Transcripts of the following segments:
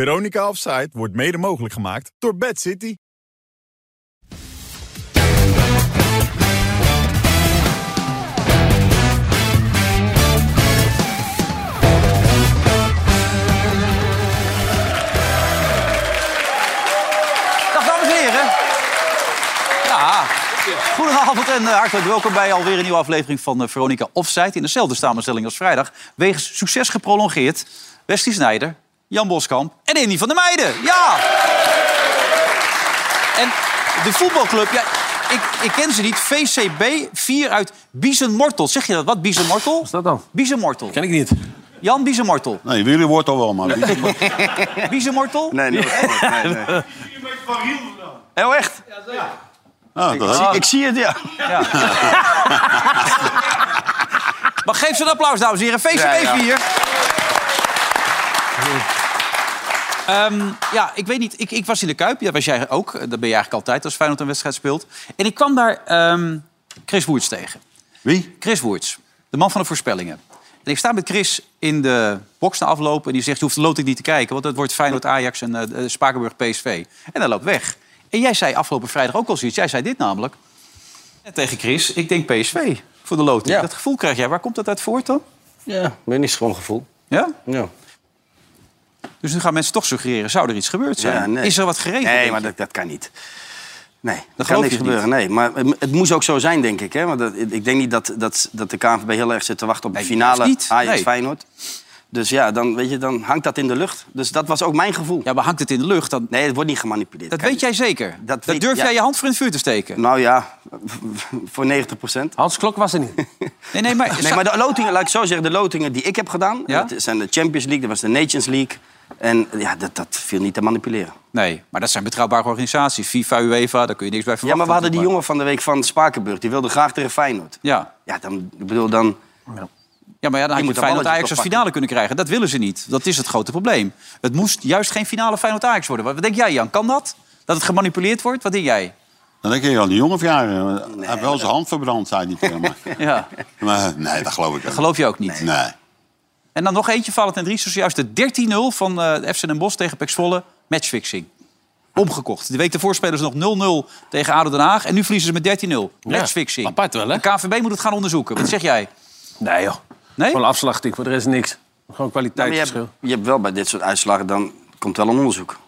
Veronica Offside wordt mede mogelijk gemaakt door Bad City. Dag dames en heren. Ja. Goedenavond en eh, hartelijk welkom bij alweer een nieuwe aflevering van eh, Veronica Offside. In dezelfde samenstelling als vrijdag. Wegens succes geprolongeerd. Westie Snijder, Jan Boskamp en Andy van der Meijden. Ja! En de voetbalclub, ja, ik, ik ken ze niet. VCB 4 uit Biezenmortel. Zeg je dat? Wat Biezenmortel? Wat is dat dan? Biezenmortel. Ken ik niet. Jan Biezenmortel. Nee, Willy wordt al wel, maar. Biezenmortel? Nee, nee, nee. nee. Heel oh, echt? Ah, dat ik, zie het, ja. Maar geef ze een applaus, dames en heren. VCB 4. Ja, ja. Ehm, ja, ik weet niet. Ik, ik was in de Kuip. Dat was jij ook. Dat ben je eigenlijk altijd als Feyenoord een wedstrijd speelt. En ik kwam daar ehm, Chris Woerts tegen. Wie? Chris Woerts, de man van de voorspellingen. En ik sta met Chris in de box na afloop. En die zegt, je hoeft de loting niet te kijken. Want het wordt Feyenoord-Ajax en eh, eh, Spakenburg-PSV. En hij loopt weg. En jij zei afgelopen vrijdag ook al zoiets. Jij zei dit namelijk. En tegen Chris, ik denk PSV voor de loting. Ja. Dat gevoel krijg jij. Waar komt dat uit voort dan? Ja, maar niet gewoon gevoel. Ja? Ja. Dus nu gaan mensen toch suggereren, zou er iets gebeurd zijn? Ja, nee. Is er wat geregeld? Nee, denk maar je? dat, dat kan niet. Nee, dat geloof kan je niks niet. gebeuren. Nee, maar het, het moest ook zo zijn, denk ik. Hè? Want dat, ik denk niet dat, dat, dat de KNVB heel erg zit te wachten op de Nee, finale juist niet. Ajax-Feyenoord. Dus ja, dan, weet je, dan hangt dat in de lucht. Dus dat was ook mijn gevoel. Ja, maar hangt het in de lucht? Dan... Nee, het wordt niet gemanipuleerd. Dat Kan weet niet. jij zeker? Dat weet- durf ja. jij je hand voor in het vuur te steken? Nou ja, voor 90 procent. Hans Klok was er niet. Nee, nee, maar... Nee, maar de lotingen, laat ik zo zeggen, de lotingen die ik heb gedaan... Ja? dat zijn de Champions League, dat was de Nations League. En ja, dat, dat viel niet te manipuleren. Nee, maar dat zijn betrouwbare organisaties. FIFA, UEFA, daar kun je niks bij verwachten. Ja, maar we hadden die natuurlijk, jongen van de week van Spakenburg. Die wilde graag tegen Feyenoord. maar- Ja. Ja, dan, ik bedoel, dan... ja, maar ja, dan had je moet dat Feyenoord Ajax balletje als toch finale kunnen krijgen. Dat willen ze niet. Dat is het grote probleem. Het moest juist geen finale Feyenoord Ajax worden. Wat wat denk jij, Jan? Kan dat? Dat het gemanipuleerd wordt? Wat denk jij? Nou, Dan denk je aan die jongen of ja, hij heeft wel zijn hand verbrand, zei hij tegen mij. Ja, Maar nee, dat geloof ik ook geloof je ook niet. niet. Nee. En dan nog eentje, Valentijn Dries, zojuist de 13-0 van eh FC Den Bosch tegen Pek Zwolle. Matchfixing. Omgekocht. De week daarvoor spelen ze nog 0-0 tegen ADO Den Haag. En nu verliezen ze met 13-0. Matchfixing. apart wel, hè? De KVB moet het gaan onderzoeken. Wat zeg jij? Nee, joh. Nee? Gewoon afslachting, voor de rest niks. Nou, Gewoon maar je, kwaliteitsverschil. hebt, je hebt wel bij dit soort uitslagen, dan komt wel een onderzoek.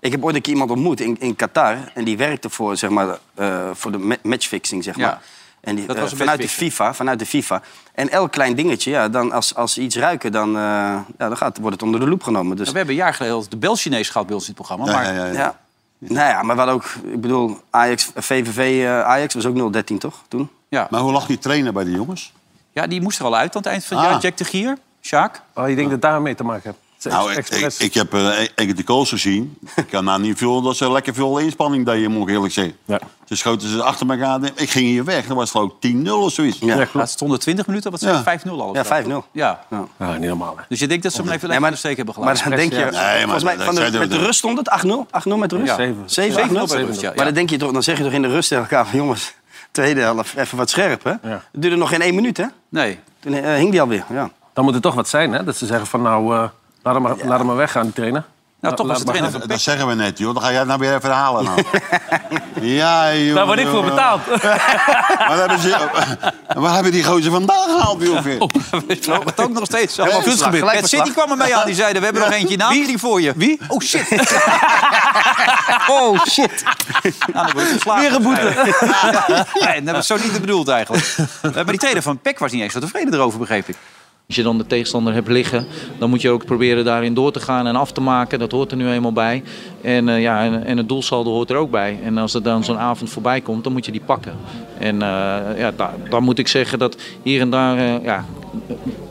Ik heb ooit een keer iemand ontmoet in, in Qatar. En die werkte voor, zeg maar, eh, voor de ma- matchfixing, zeg Ja. maar. En die, Dat eh, was een vanuit, de matchfixing. FIFA, vanuit de FIFA. En elk klein dingetje, ja, dan als, als ze iets ruiken, dan, eh, ja, dan gaat, wordt het onder de loep genomen. Dus, We hebben een jaar geleden al de bel Chinees gehad bij ons in het programma. Ja, Maar ja, ja, ja. ja. Nou ja, maar wat ook, ik bedoel, Ajax, VVV eh, Ajax was ook 0-13, toch? Toen? ja. Maar hoe lag die trainer bij de jongens? Ja, die moest er al uit aan het eind van het Ah. jaar. Jack de Gier, Sjaak. Oh, je denkt dat daar mee te maken hebt? Het is Nou, ik, ik, expres. ik heb eh, ik- ik heb de goals gezien. Ik kan nou niet veel dat ze lekker veel inspanning deden, moet ik eerlijk zeggen. Ja. Ze schoten ze achter elkaar. Ik ging hier weg. Dan was het geloof ik 10-0 of zoiets. Ja. Ja, Ja, het klopt. stond er 20 minuten, wat Ja. zijn het? 5-0 al? Ja, 5-0. Ja. Ah, niet normaal, hè. Dus je denkt dat ze hem even lekker Nee, maar- in de steek hebben gelaten. Maar dan denk je, ja. maar volgens mij, dat van de, zeiden we met de toch. rust stond het 8-0. 8-0 met rust. Ja. 7. 7-0 bij 7 rust, ja, ja. Maar dan, denk je toch, dan zeg je toch in de rust tegen elkaar van... jongens, tweede helft, even wat scherp, hè? Het duurde nog geen één minuut, hè? Nee. Nou, Toen eh, hing die alweer, ja. Dan moet er toch wat zijn, hè? Dat ze zeggen van, nou, eh, laat, hem maar, laat hem maar weggaan, die trainer. Nou, toch was de maar trainer gaan. van Dat zeggen we net, joh. Dan ga jij het nou weer even halen. Nou. ja, joh. Daar word ik voor joh. betaald. Waar hebben, ze, waar hebben die gozer vandaan gehaald, joh? Nou, het ook nog steeds. Allemaal Gelijk kunstgebied. beslag, Het City kwam ermee aan. Die zeiden, we hebben nog eentje na. Die voor je. Wie? Oh, shit. oh, shit. Nou, dan wordt geslagen. Weer een boete. nee, dat was zo niet bedoeld eigenlijk. Eh, Maar die trainer van Peck was niet eens zo tevreden erover, begreep ik. Als je dan de tegenstander hebt liggen, dan moet je ook proberen daarin door te gaan en af te maken. Dat hoort er nu eenmaal bij. En, eh, ja, en, en het doelsaldo hoort er ook bij. En als er dan zo'n avond voorbij komt, dan moet je die pakken. En eh, ja, da- dan moet ik zeggen dat hier en daar, eh, ja,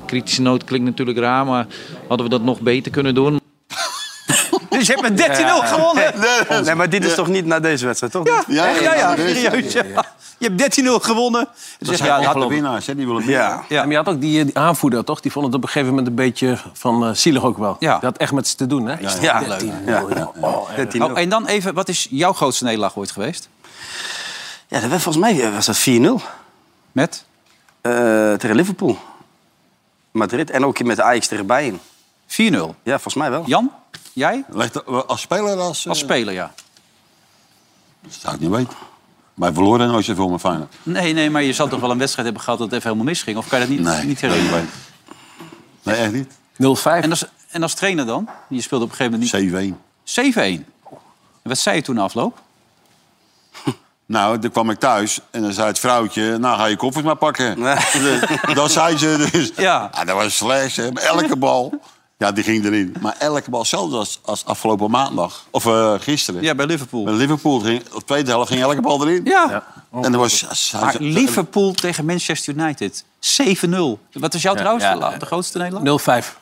kritische noot klinkt natuurlijk raar, maar hadden we dat nog beter kunnen doen. Dus je hebt met 13-0 gewonnen. Nee, maar dit is toch niet na deze wedstrijd, toch? Ja. Ja, Ja, ja, ja, dat is- serieus. ja. Je hebt 13-0 gewonnen. Dus Dat ja, zijn dat echt had de winnaars, hè? Die willen ja. Ja. Ja, maar je had ook die, eh, die aanvoerder, toch? Die vond het op een gegeven moment een beetje van eh, zielig ook wel. Ja. Dat had echt met ze te doen, hè? Ja, Ja. Ja. Oh, eh. 13-0. Oh, en dan even, wat is jouw grootste nederlaag ooit geweest? Ja, dat werd volgens mij eh, was dat 4-0 Met? eh, tegen Liverpool. Madrid en ook met Ajax tegen Bayern. 4-0. Ja, volgens mij wel. Jan? Jij? Ligt er- als speler als... Als eh, speler, ja. dat zou ik niet weten. Wij verloren nooit zoveel met Feyenoord. Nee, nee, maar je zal toch wel een wedstrijd hebben gehad dat het even helemaal misging? Of kan je dat niet, Nee, niet herinneren? Nee, nee, echt niet. 0-5. En als, en als trainer dan? Je speelde op een gegeven moment 7-1. niet... 7-1. En wat zei je toen na afloop? Nou, toen kwam ik thuis en dan zei het vrouwtje... nou, ga je koffers maar pakken. Dus, dat zei ze dus. Ja. dat was slecht. hè. Maar Elke bal, ja, die ging erin. Maar elke bal, zelfs als, als afgelopen maandag. Of eh, gisteren. Ja, bij Liverpool. Bij Liverpool ging, op de tweede helft ging elke bal erin. Ja. En er was... ja, zei Maar ze- Liverpool tegen Manchester United. 7-0. Wat is jouw trouwens ja. de la- de grootste Nederland? 0-5.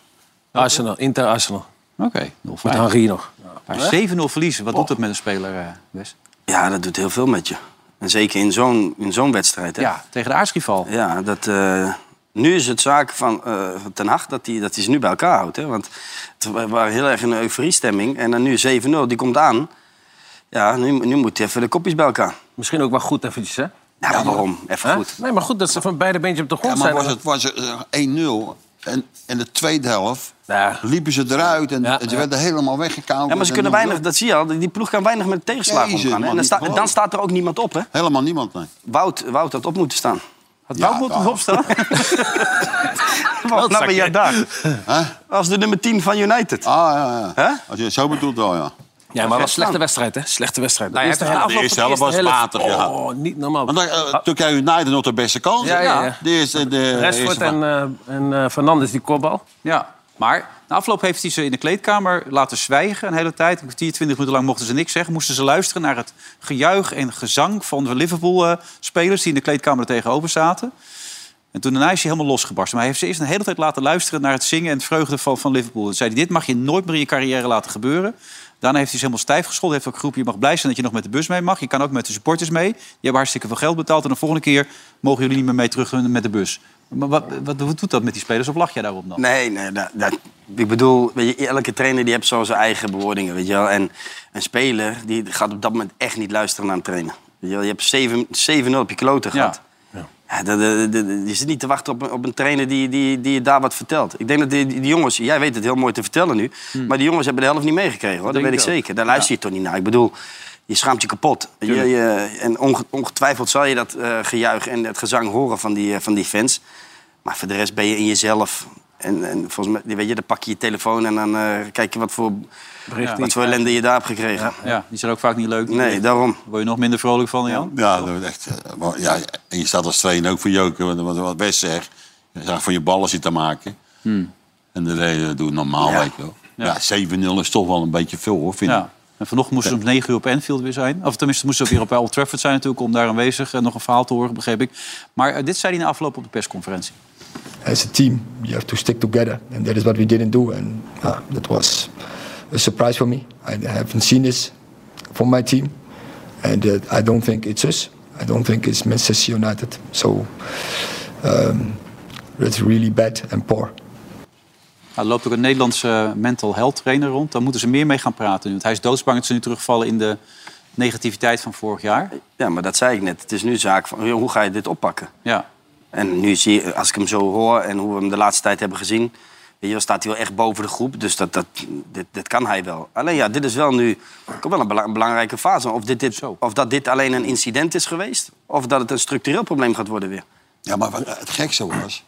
Arsenal, Inter Arsenal. Oké, Met 0-5. Henri nog. Maar 7-0 verliezen, wat doet dat met een speler, eh, Wes? Ja, dat doet heel veel met je. En zeker in zo'n, in zo'n wedstrijd. Hè? Ja, tegen de aartsrival. Ja, dat, eh, nu is het zaak van eh, van Ten Hag dat hij dat die ze nu bij elkaar houdt. Hè? Want het wa- waren heel erg in een euforiestemming. En dan nu 7-0, die komt aan. Ja, nu, nu moet hij even de kopjes bij elkaar. Misschien ook wel goed eventjes, hè? Nou, waarom? Even Hè? goed. Nee, maar goed dat ze van beide beentjes op de Ja, grond maar zijn. was het, was het eh, 1-0 en in de tweede helft Ja. liepen ze eruit en, Ja, en ze ja. werden helemaal weggekauwd. Ja, maar ze En kunnen dan- weinig, dat zie je al, die ploeg kan weinig met tegenslagen Jezus, omgaan. hè? man, En dan, niet sta- gewoon. dan staat er ook niemand op, hè? Helemaal niemand, nee. Wout, Wout had op moeten staan. Had Ja, Wout moeten daar. opstaan? Wat ben jij daar? Als de nummer 10 van United. Ah, ja, ja. Hè? Als je het zo bedoelt wel, ja. Ja, maar wel een slechte wedstrijd, hè? Slechte wedstrijd. Nou ja, Eerste ja, de helft- afloop eerste van helft was matig, ja. Oh, niet normaal. Want dan, Ah. eh, toen kreeg United nog de beste kans. Ja, ja, ja. De eerste, de Rashford eerste en, van- eh, en eh, Fernandes, die kopbal. Ja, maar na afloop heeft hij ze in de kleedkamer laten zwijgen een hele tijd. Een kwartier, twintig minuten lang mochten ze niks zeggen. Moesten ze luisteren naar het gejuich en gezang van de Liverpool-spelers... die in de kleedkamer er tegenover zaten. En toen daarna is hij helemaal losgebarsten. Maar hij heeft ze eerst een hele tijd laten luisteren naar het zingen... en het vreugde van, van Liverpool. Toen zei hij, dit mag je nooit meer in je carrière laten gebeuren. Daarna heeft hij ze helemaal stijf gescholden. Heeft ook geroepen, je mag blij zijn dat je nog met de bus mee mag. Je kan ook met de supporters mee. Die hebben hartstikke veel geld betaald. En de volgende keer mogen jullie niet meer mee terug met de bus. Maar wat, wat, wat doet dat met die spelers? Of lach jij daarop dan? Nee, nee, dat, dat- ik bedoel, weet je, elke trainer die heeft zo zijn eigen bewoordingen, weet je wel. En een speler die gaat op dat moment echt niet luisteren naar een trainer. Weet je, wel. je hebt 7 7-0 op je kloten Ja. gehad. Ja, dat- dat- dat- je zit niet te wachten op, een- op een trainer die, die, die je daar wat vertelt. Ik denk dat die, die jongens, jij weet het heel mooi te vertellen nu, maar die jongens hebben de helft niet meegekregen hoor. Dat weet denk ik ik ook. zeker. Daar luister je toch niet naar. Ik bedoel, je schaamt je kapot. Je, je- en onge- ongetwijfeld zal je dat eh, gejuich en het gezang horen van die, eh, van die fans. Maar voor de rest ben je in jezelf. En, en volgens mij, weet je, dan pak je je telefoon en dan eh, kijk je wat voor, Bericht die- wat voor ellende je daar hebt gekregen. Ja, die zijn ook vaak niet leuk. Nee, daar daarom. word je nog minder vrolijk van, Jan. Ja, dat wordt echt, eh, wel- ja, en je staat als trainer ook voor Joker, want wat, wat Wes zegt. Je zag voor je ballen zitten maken. En de reden doen normaal, Hmm. Ja. weet je wel. Ja, 7-0 is toch wel een beetje veel, hoor, vind ik. Ja. En vanochtend moesten ze om 9 uur op Anfield weer zijn. Of tenminste, moesten ze weer op Old Trafford zijn natuurlijk... om daar aanwezig en nog een verhaal te horen, begreep ik. Maar eh, dit zei hij na afloop op de persconferentie. as a team, you have to stick together, and that is what we didn't do. And uh, that was a surprise for me. I haven't seen this from my team, and uh, I don't think it's us. I don't think it's Manchester United. So um, that's really bad and poor. Nou, er loopt ook een Nederlandse eh, mental health trainer rond. Daar moeten ze meer mee gaan praten nu. Want hij is doodsbang dat ze nu terugvallen in de negativiteit van vorig jaar. Ja, maar dat zei ik net. Het is nu zaak van joh, hoe ga je dit oppakken? Ja, En nu zie je, als ik hem zo hoor en hoe we hem de laatste tijd hebben gezien... weet je wel, staat hij wel echt boven de groep, dus dat, dat, dit, dit kan hij wel. Alleen ja, dit is wel nu komt wel een, bela- een belangrijke fase. Of, dit, dit, Zo. of dat dit alleen een incident is geweest... of dat het een structureel probleem gaat worden weer. Ja, maar wat het gekste was...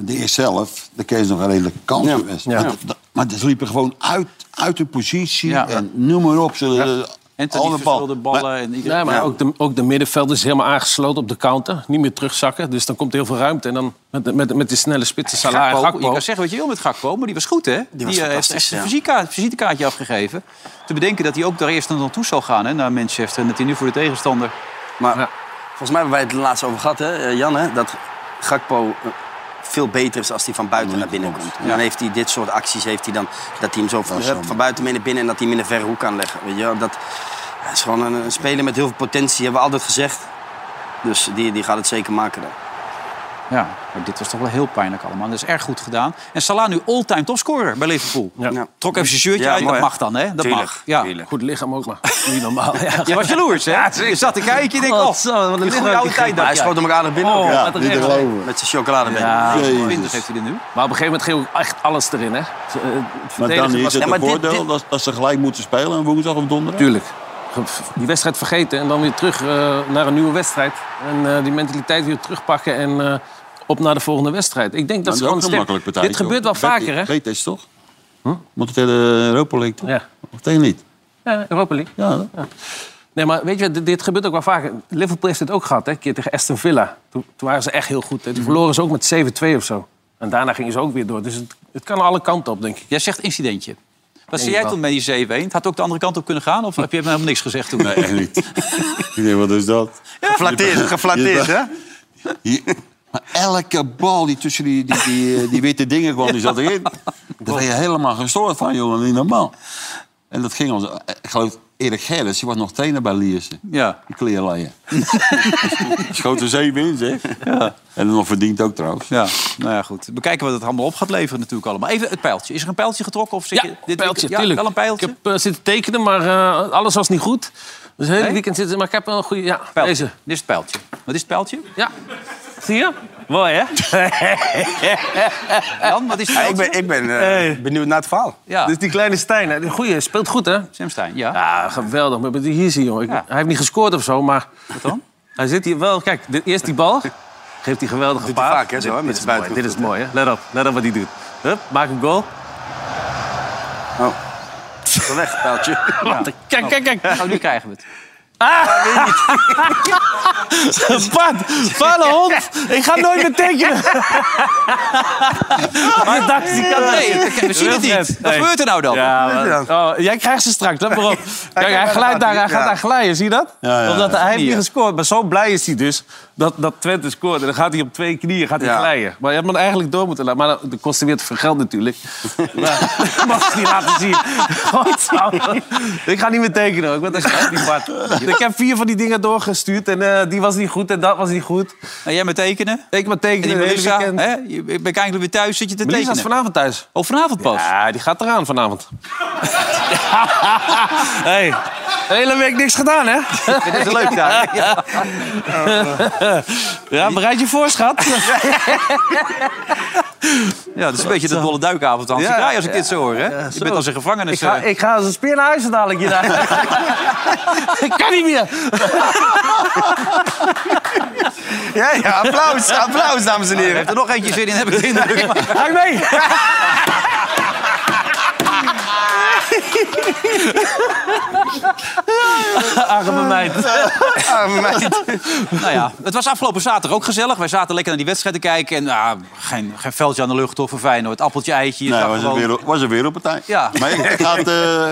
De eerste helft, de kees nog een redelijke kans Ja, geweest. ja. Maar dat- Maar ze liepen gewoon uit, uit de positie Ja. en noem maar op. Ze, en alle ten bal. de ballen. Maar- en iedereen... Ja, maar Ja. Ook, de, ook de middenveld is helemaal aangesloten op de counter. Niet meer terugzakken, dus dan komt heel veel ruimte. En dan met, de- met, de- met die snelle spitsen Salah en Gakpo, je Gakpo. kan zeggen wat je wil met Gakpo, maar die was goed, hè? Die, was eh, heeft fantastisch, echt een ja. visitekaart- visitekaartje afgegeven. Te bedenken dat hij ook daar eerst naartoe zal gaan, hè, naar Manchester. En dat hij nu voor de tegenstander... Maar Ja. volgens mij hebben wij het er laatst over gehad, hè, eh, Jan, hè, dat Gakpo eh, veel beter is als hij van buiten naar binnen komt. En dan heeft hij dit soort acties, heeft hij dan, dat hij hem zo van, is hup, jammer. van buiten mee naar binnen en dat hij hem in een verre hoek kan leggen. Weet je wel? Dat hij is gewoon een, een speler met heel veel potentie, hebben we altijd gezegd. Dus die, die gaat het zeker maken dan. Ja, maar dit was toch wel heel pijnlijk allemaal. Dat is erg goed gedaan. En Salah nu all-time topscorer bij Liverpool. Ja. Trok even zijn shirtje Ja, uit. mooi, dat hè? mag dan, hè? Dat Tuurlijk, mag. Ja. tuurlijk. Goed lichaam ook, maar niet normaal. Ja. Je was jaloers, hè? je zat te kijken en je denkt, Wat oh, zo, wat een een goede leuk oude tijd Maar gegeven. dat hij schoot hem ook aardig binnen. ook, ja. Ja, niet te geloven. Met zijn chocoladebeen. Ja, Jezus. 20 heeft hij er nu. Maar op een gegeven moment ging ook echt alles erin, hè? Het, eh, het Maar dan verdedigen is was- het Ja, maar een dit- voordeel dit- Dat, dat ze gelijk moeten spelen aan woensdag of donderdag. Tuurlijk. Die wedstrijd vergeten en dan weer terug eh, naar een nieuwe wedstrijd. En eh, die mentaliteit weer terugpakken en eh, op naar de volgende wedstrijd. Ik denk dat Nou, is ze ook gewoon een sterk- makkelijk partij. Dit gebeurt wel vaker, hè? Weet is toch? Moet het hele Europa League toch? Ja. Of tegen niet? ja, Europa League. Ja, Nee, maar weet je, dit, dit gebeurt ook wel vaker. Liverpool heeft het ook gehad, hè? Een keer tegen Aston Villa. Toen, toen waren ze echt heel goed. Mhm. hè. Toen verloren ze ook met 7-2 of zo. En daarna gingen ze ook weer door. Dus het, het kan alle kanten op, denk ik. Jij zegt incidentje. Wat zei ik jij wel. toen met die zeeween? Had ook de andere kant op kunnen gaan? Of heb je helemaal niks gezegd toen? Nee, echt niet. Ik denk, wat is dat? Geflatteerd, geflatteerd, hè? Hier- maar elke bal die tussen die, die, die, eh, die witte dingen kwam, die zat erin. Daar ben je helemaal gestoord van, jongen. Niet normaal. En dat ging ons... Ik geloof, Erik Gerrits, die was nog trainer bij Liersen. Ja. Die kleerlaaien. Schoot er zeven in, zeg. En nog verdiend ook, trouwens. Ja, nou ja, goed. Bekijken wat het allemaal op gaat leveren natuurlijk allemaal. Even het pijltje. Is er een pijltje getrokken? Of zit Ja, je een pijltje, weekend- ja, tuurlijk. wel een pijltje. Ik heb eh, zitten tekenen, maar eh, alles was niet goed. Dus het hele Nee? weekend zitten... Maar ik heb wel een goede... Ja, Pijltje. deze. Dit is het pijltje. Wat is het pijltje? Ja. Zie je? Mooi, hè? Jan, wat is het Ja, pijltje? ik ben, ik ben eh, benieuwd naar het verhaal. Ja, Dus die kleine Stijn, hè, die goeie, speelt goed, hè? Sam Stein, ja. Ja, geweldig. Maar wat ik hier zie, jongen. Ik- Ja. Hij heeft niet gescoord of zo, maar Wat dan? hij zit hier wel... Kijk, de, eerst die bal. Geeft die geweldige Doet hij paas. vaak, hè, zo, hè, Dit- met dit, zijn is mooi, buitenkant dit is mooi, hè? Let op, let op wat hij doet. Hup, maak een goal. Ga weg, pijltje. Kijk, kijk, kijk. Nou, nu krijgen we het. Ah! Bart, vuile hond. Ik ga nooit meer tekenen. maar dat die kan Nee, we zien het niet. Wat Nee. gebeurt er nou dan? Ja, Wat is maar- oh, jij krijgt ze straks, let maar op. Kijk, hij gaat glijdt daar, hij niet, gaat ja. daar glijden, zie je dat? Ja, ja, Omdat ja. hij heeft niet Knieën. gescoord. Maar zo blij is hij dus dat, dat Twente scoort. En dan gaat hij op twee knieën gaat hij Ja. glijden. Maar je had hem eigenlijk door moeten laten. Maar dat dat kostte weer te veel geld natuurlijk. Maar dat mag hij niet laten zien. Godsamme. ik ga niet meer tekenen hoor. Ik ben echt niet Bart. Ik heb vier van die dingen doorgestuurd. En eh, die was niet goed en dat was niet goed. En Nou, jij met tekenen? Ik maar En tekenen die het hele Melissa, weekend. hè? Je bent eigenlijk weer thuis, zit je te Melissa is tekenen. vanavond thuis. Oh, vanavond pas. Ja, die gaat eraan vanavond. hey. De hele week niks gedaan, hè? Dit is leuk daar. Ja. Ja, bereid je voor, schat. ja, dat is een beetje de dolle duikavond, Hans. Ja, Ja, als ik dit zo hoor, hè? je zo. bent als een gevangenis. ik, ga, eh, ik ga als een speer naar huis zo dadelijk hierna. ik kan niet meer. Ja, ja, applaus, applaus, dames en heren. Er nog eentje zin in, heb ik de indruk. Ga ik mee. Arme meid. Arme meid. Nou ja, het was afgelopen zaterdag ook gezellig. Wij zaten lekker naar die wedstrijd te kijken. En nou, geen, geen veldje aan de lucht of voor Feyenoord. Appeltje, eitje. je Nee, zag was een, gewoon- wereld, was een wereldpartij. Ja. Maar ik ik ga het, eh,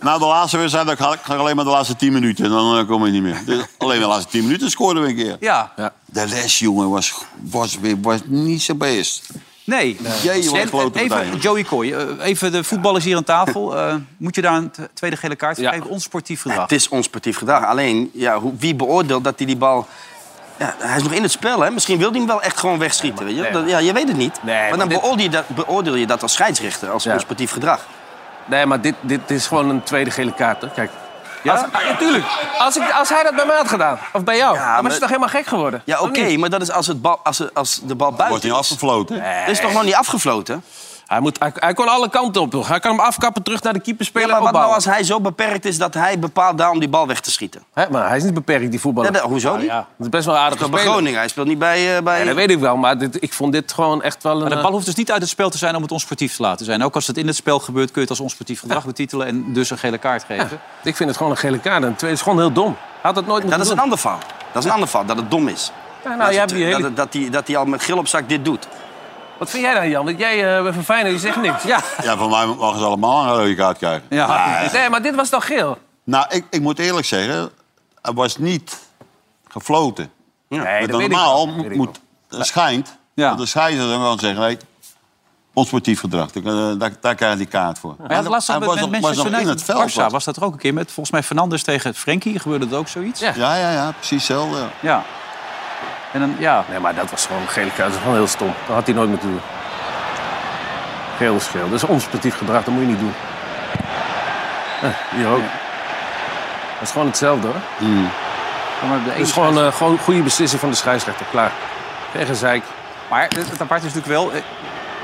na de laatste wedstrijd dan ga ik ga ik alleen maar de laatste 10 minuten. En dan eh, kom je niet meer. Dus alleen de laatste 10 minuten scoorden we een keer. Ja, De les, jongen, was, was, weer- was niet zo best. nee. Jij, wat En- een en grote even, partij. Joey Kooi, eh, even de voetballers hier aan tafel. Eh, moet je daar een t- tweede gele kaart voor Ja. geven? Onsportief Ja, gedrag. het is onsportief gedrag. Alleen, ja, hoe, wie beoordeelt dat hij die bal... Ja, hij is nog in het spel, hè? Misschien wil hij hem wel echt gewoon wegschieten. weet je? nee, Dat- ja, je weet het niet. Nee, maar maar dan dit- beoordeel, je dat, beoordeel je dat als scheidsrechter, als Ja. onsportief gedrag. Nee, maar dit, dit is gewoon een tweede gele kaart. Hè. Kijk. Ja? Als, ah, ja, tuurlijk. Als, ik, als hij dat bij mij had gedaan, of bij jou, dan was maar- je toch helemaal gek geworden? Ja, Of oké, niet? maar dat is als, het bal, als, het- als de bal Wordt buiten niet is. afgefloten. Dat is toch nog niet afgefloten? Hij, moet, hij, hij kon alle kanten op. joh. Hij kan hem afkappen, terug naar de keeper Ja, spelen. maar wat nou opbouwen. als hij zo beperkt is dat hij bepaalt daar om die bal weg te schieten? Hè, maar hij is niet beperkt, die voetballer. Nou Ja, dat- hoezo niet? Ja, dat is best wel aardig Dat bij speler. Groningen, hij speelt niet bij... eh, bij... Ja, dat weet ik wel, maar dit, ik vond dit gewoon echt wel een... Maar de eh, bal hoeft dus niet uit het spel te zijn om het onsportief te laten zijn. Ook als het in het spel gebeurt, kun je het als onsportief gedrag betitelen... en dus een gele kaart geven. Ik vind het gewoon een gele kaart. En twee is gewoon heel dom. Hij Had dat nooit dat moeten is een doen. ander verhaal. Dat is een ander verhaal, dat het dom is. Ja, nou, jij hebt die hele... dat, dat, hij, dat hij al met gil op zak dit doet. Wat vind jij dan, Jan? Want jij eh bent van Feyenoord, je zegt niks. Ja. Ja, van mij mogen ze allemaal een rode kaart krijgen. Ja. Nee, maar dit was toch geel? Nou, ik, ik moet eerlijk zeggen, hij was niet gefloten. Nee, Want dat weet ik normaal wel. Dat weet ik moet, het schijnt, Ja. dat de scheidsrechter dan wel zeggen... Nee, onsportief gedrag, daar, daar, daar krijg je die kaart voor. Maar ja, het laatste hij met, met nog- Manchester nog in United het veld. Barca was- was dat er ook een keer met volgens mij Fernandes tegen Frenkie gebeurde dat ook zoiets. Ja. Ja, ja, ja, precies hetzelfde. Ja. En dan, ja, Nee, maar dat was gewoon een gele kaart. Dat is gewoon heel stom. Dat had hij nooit moeten doen. Geel is geel. Dat is onsportief gedrag. Dat moet je niet doen. Eh, hier ook. Dat is gewoon hetzelfde hoor. maar de Dus Dat is ene gewoon een gewoon goede beslissing van de scheidsrechter. Klaar. Tegen zeik. Maar het, het aparte is natuurlijk wel... eh,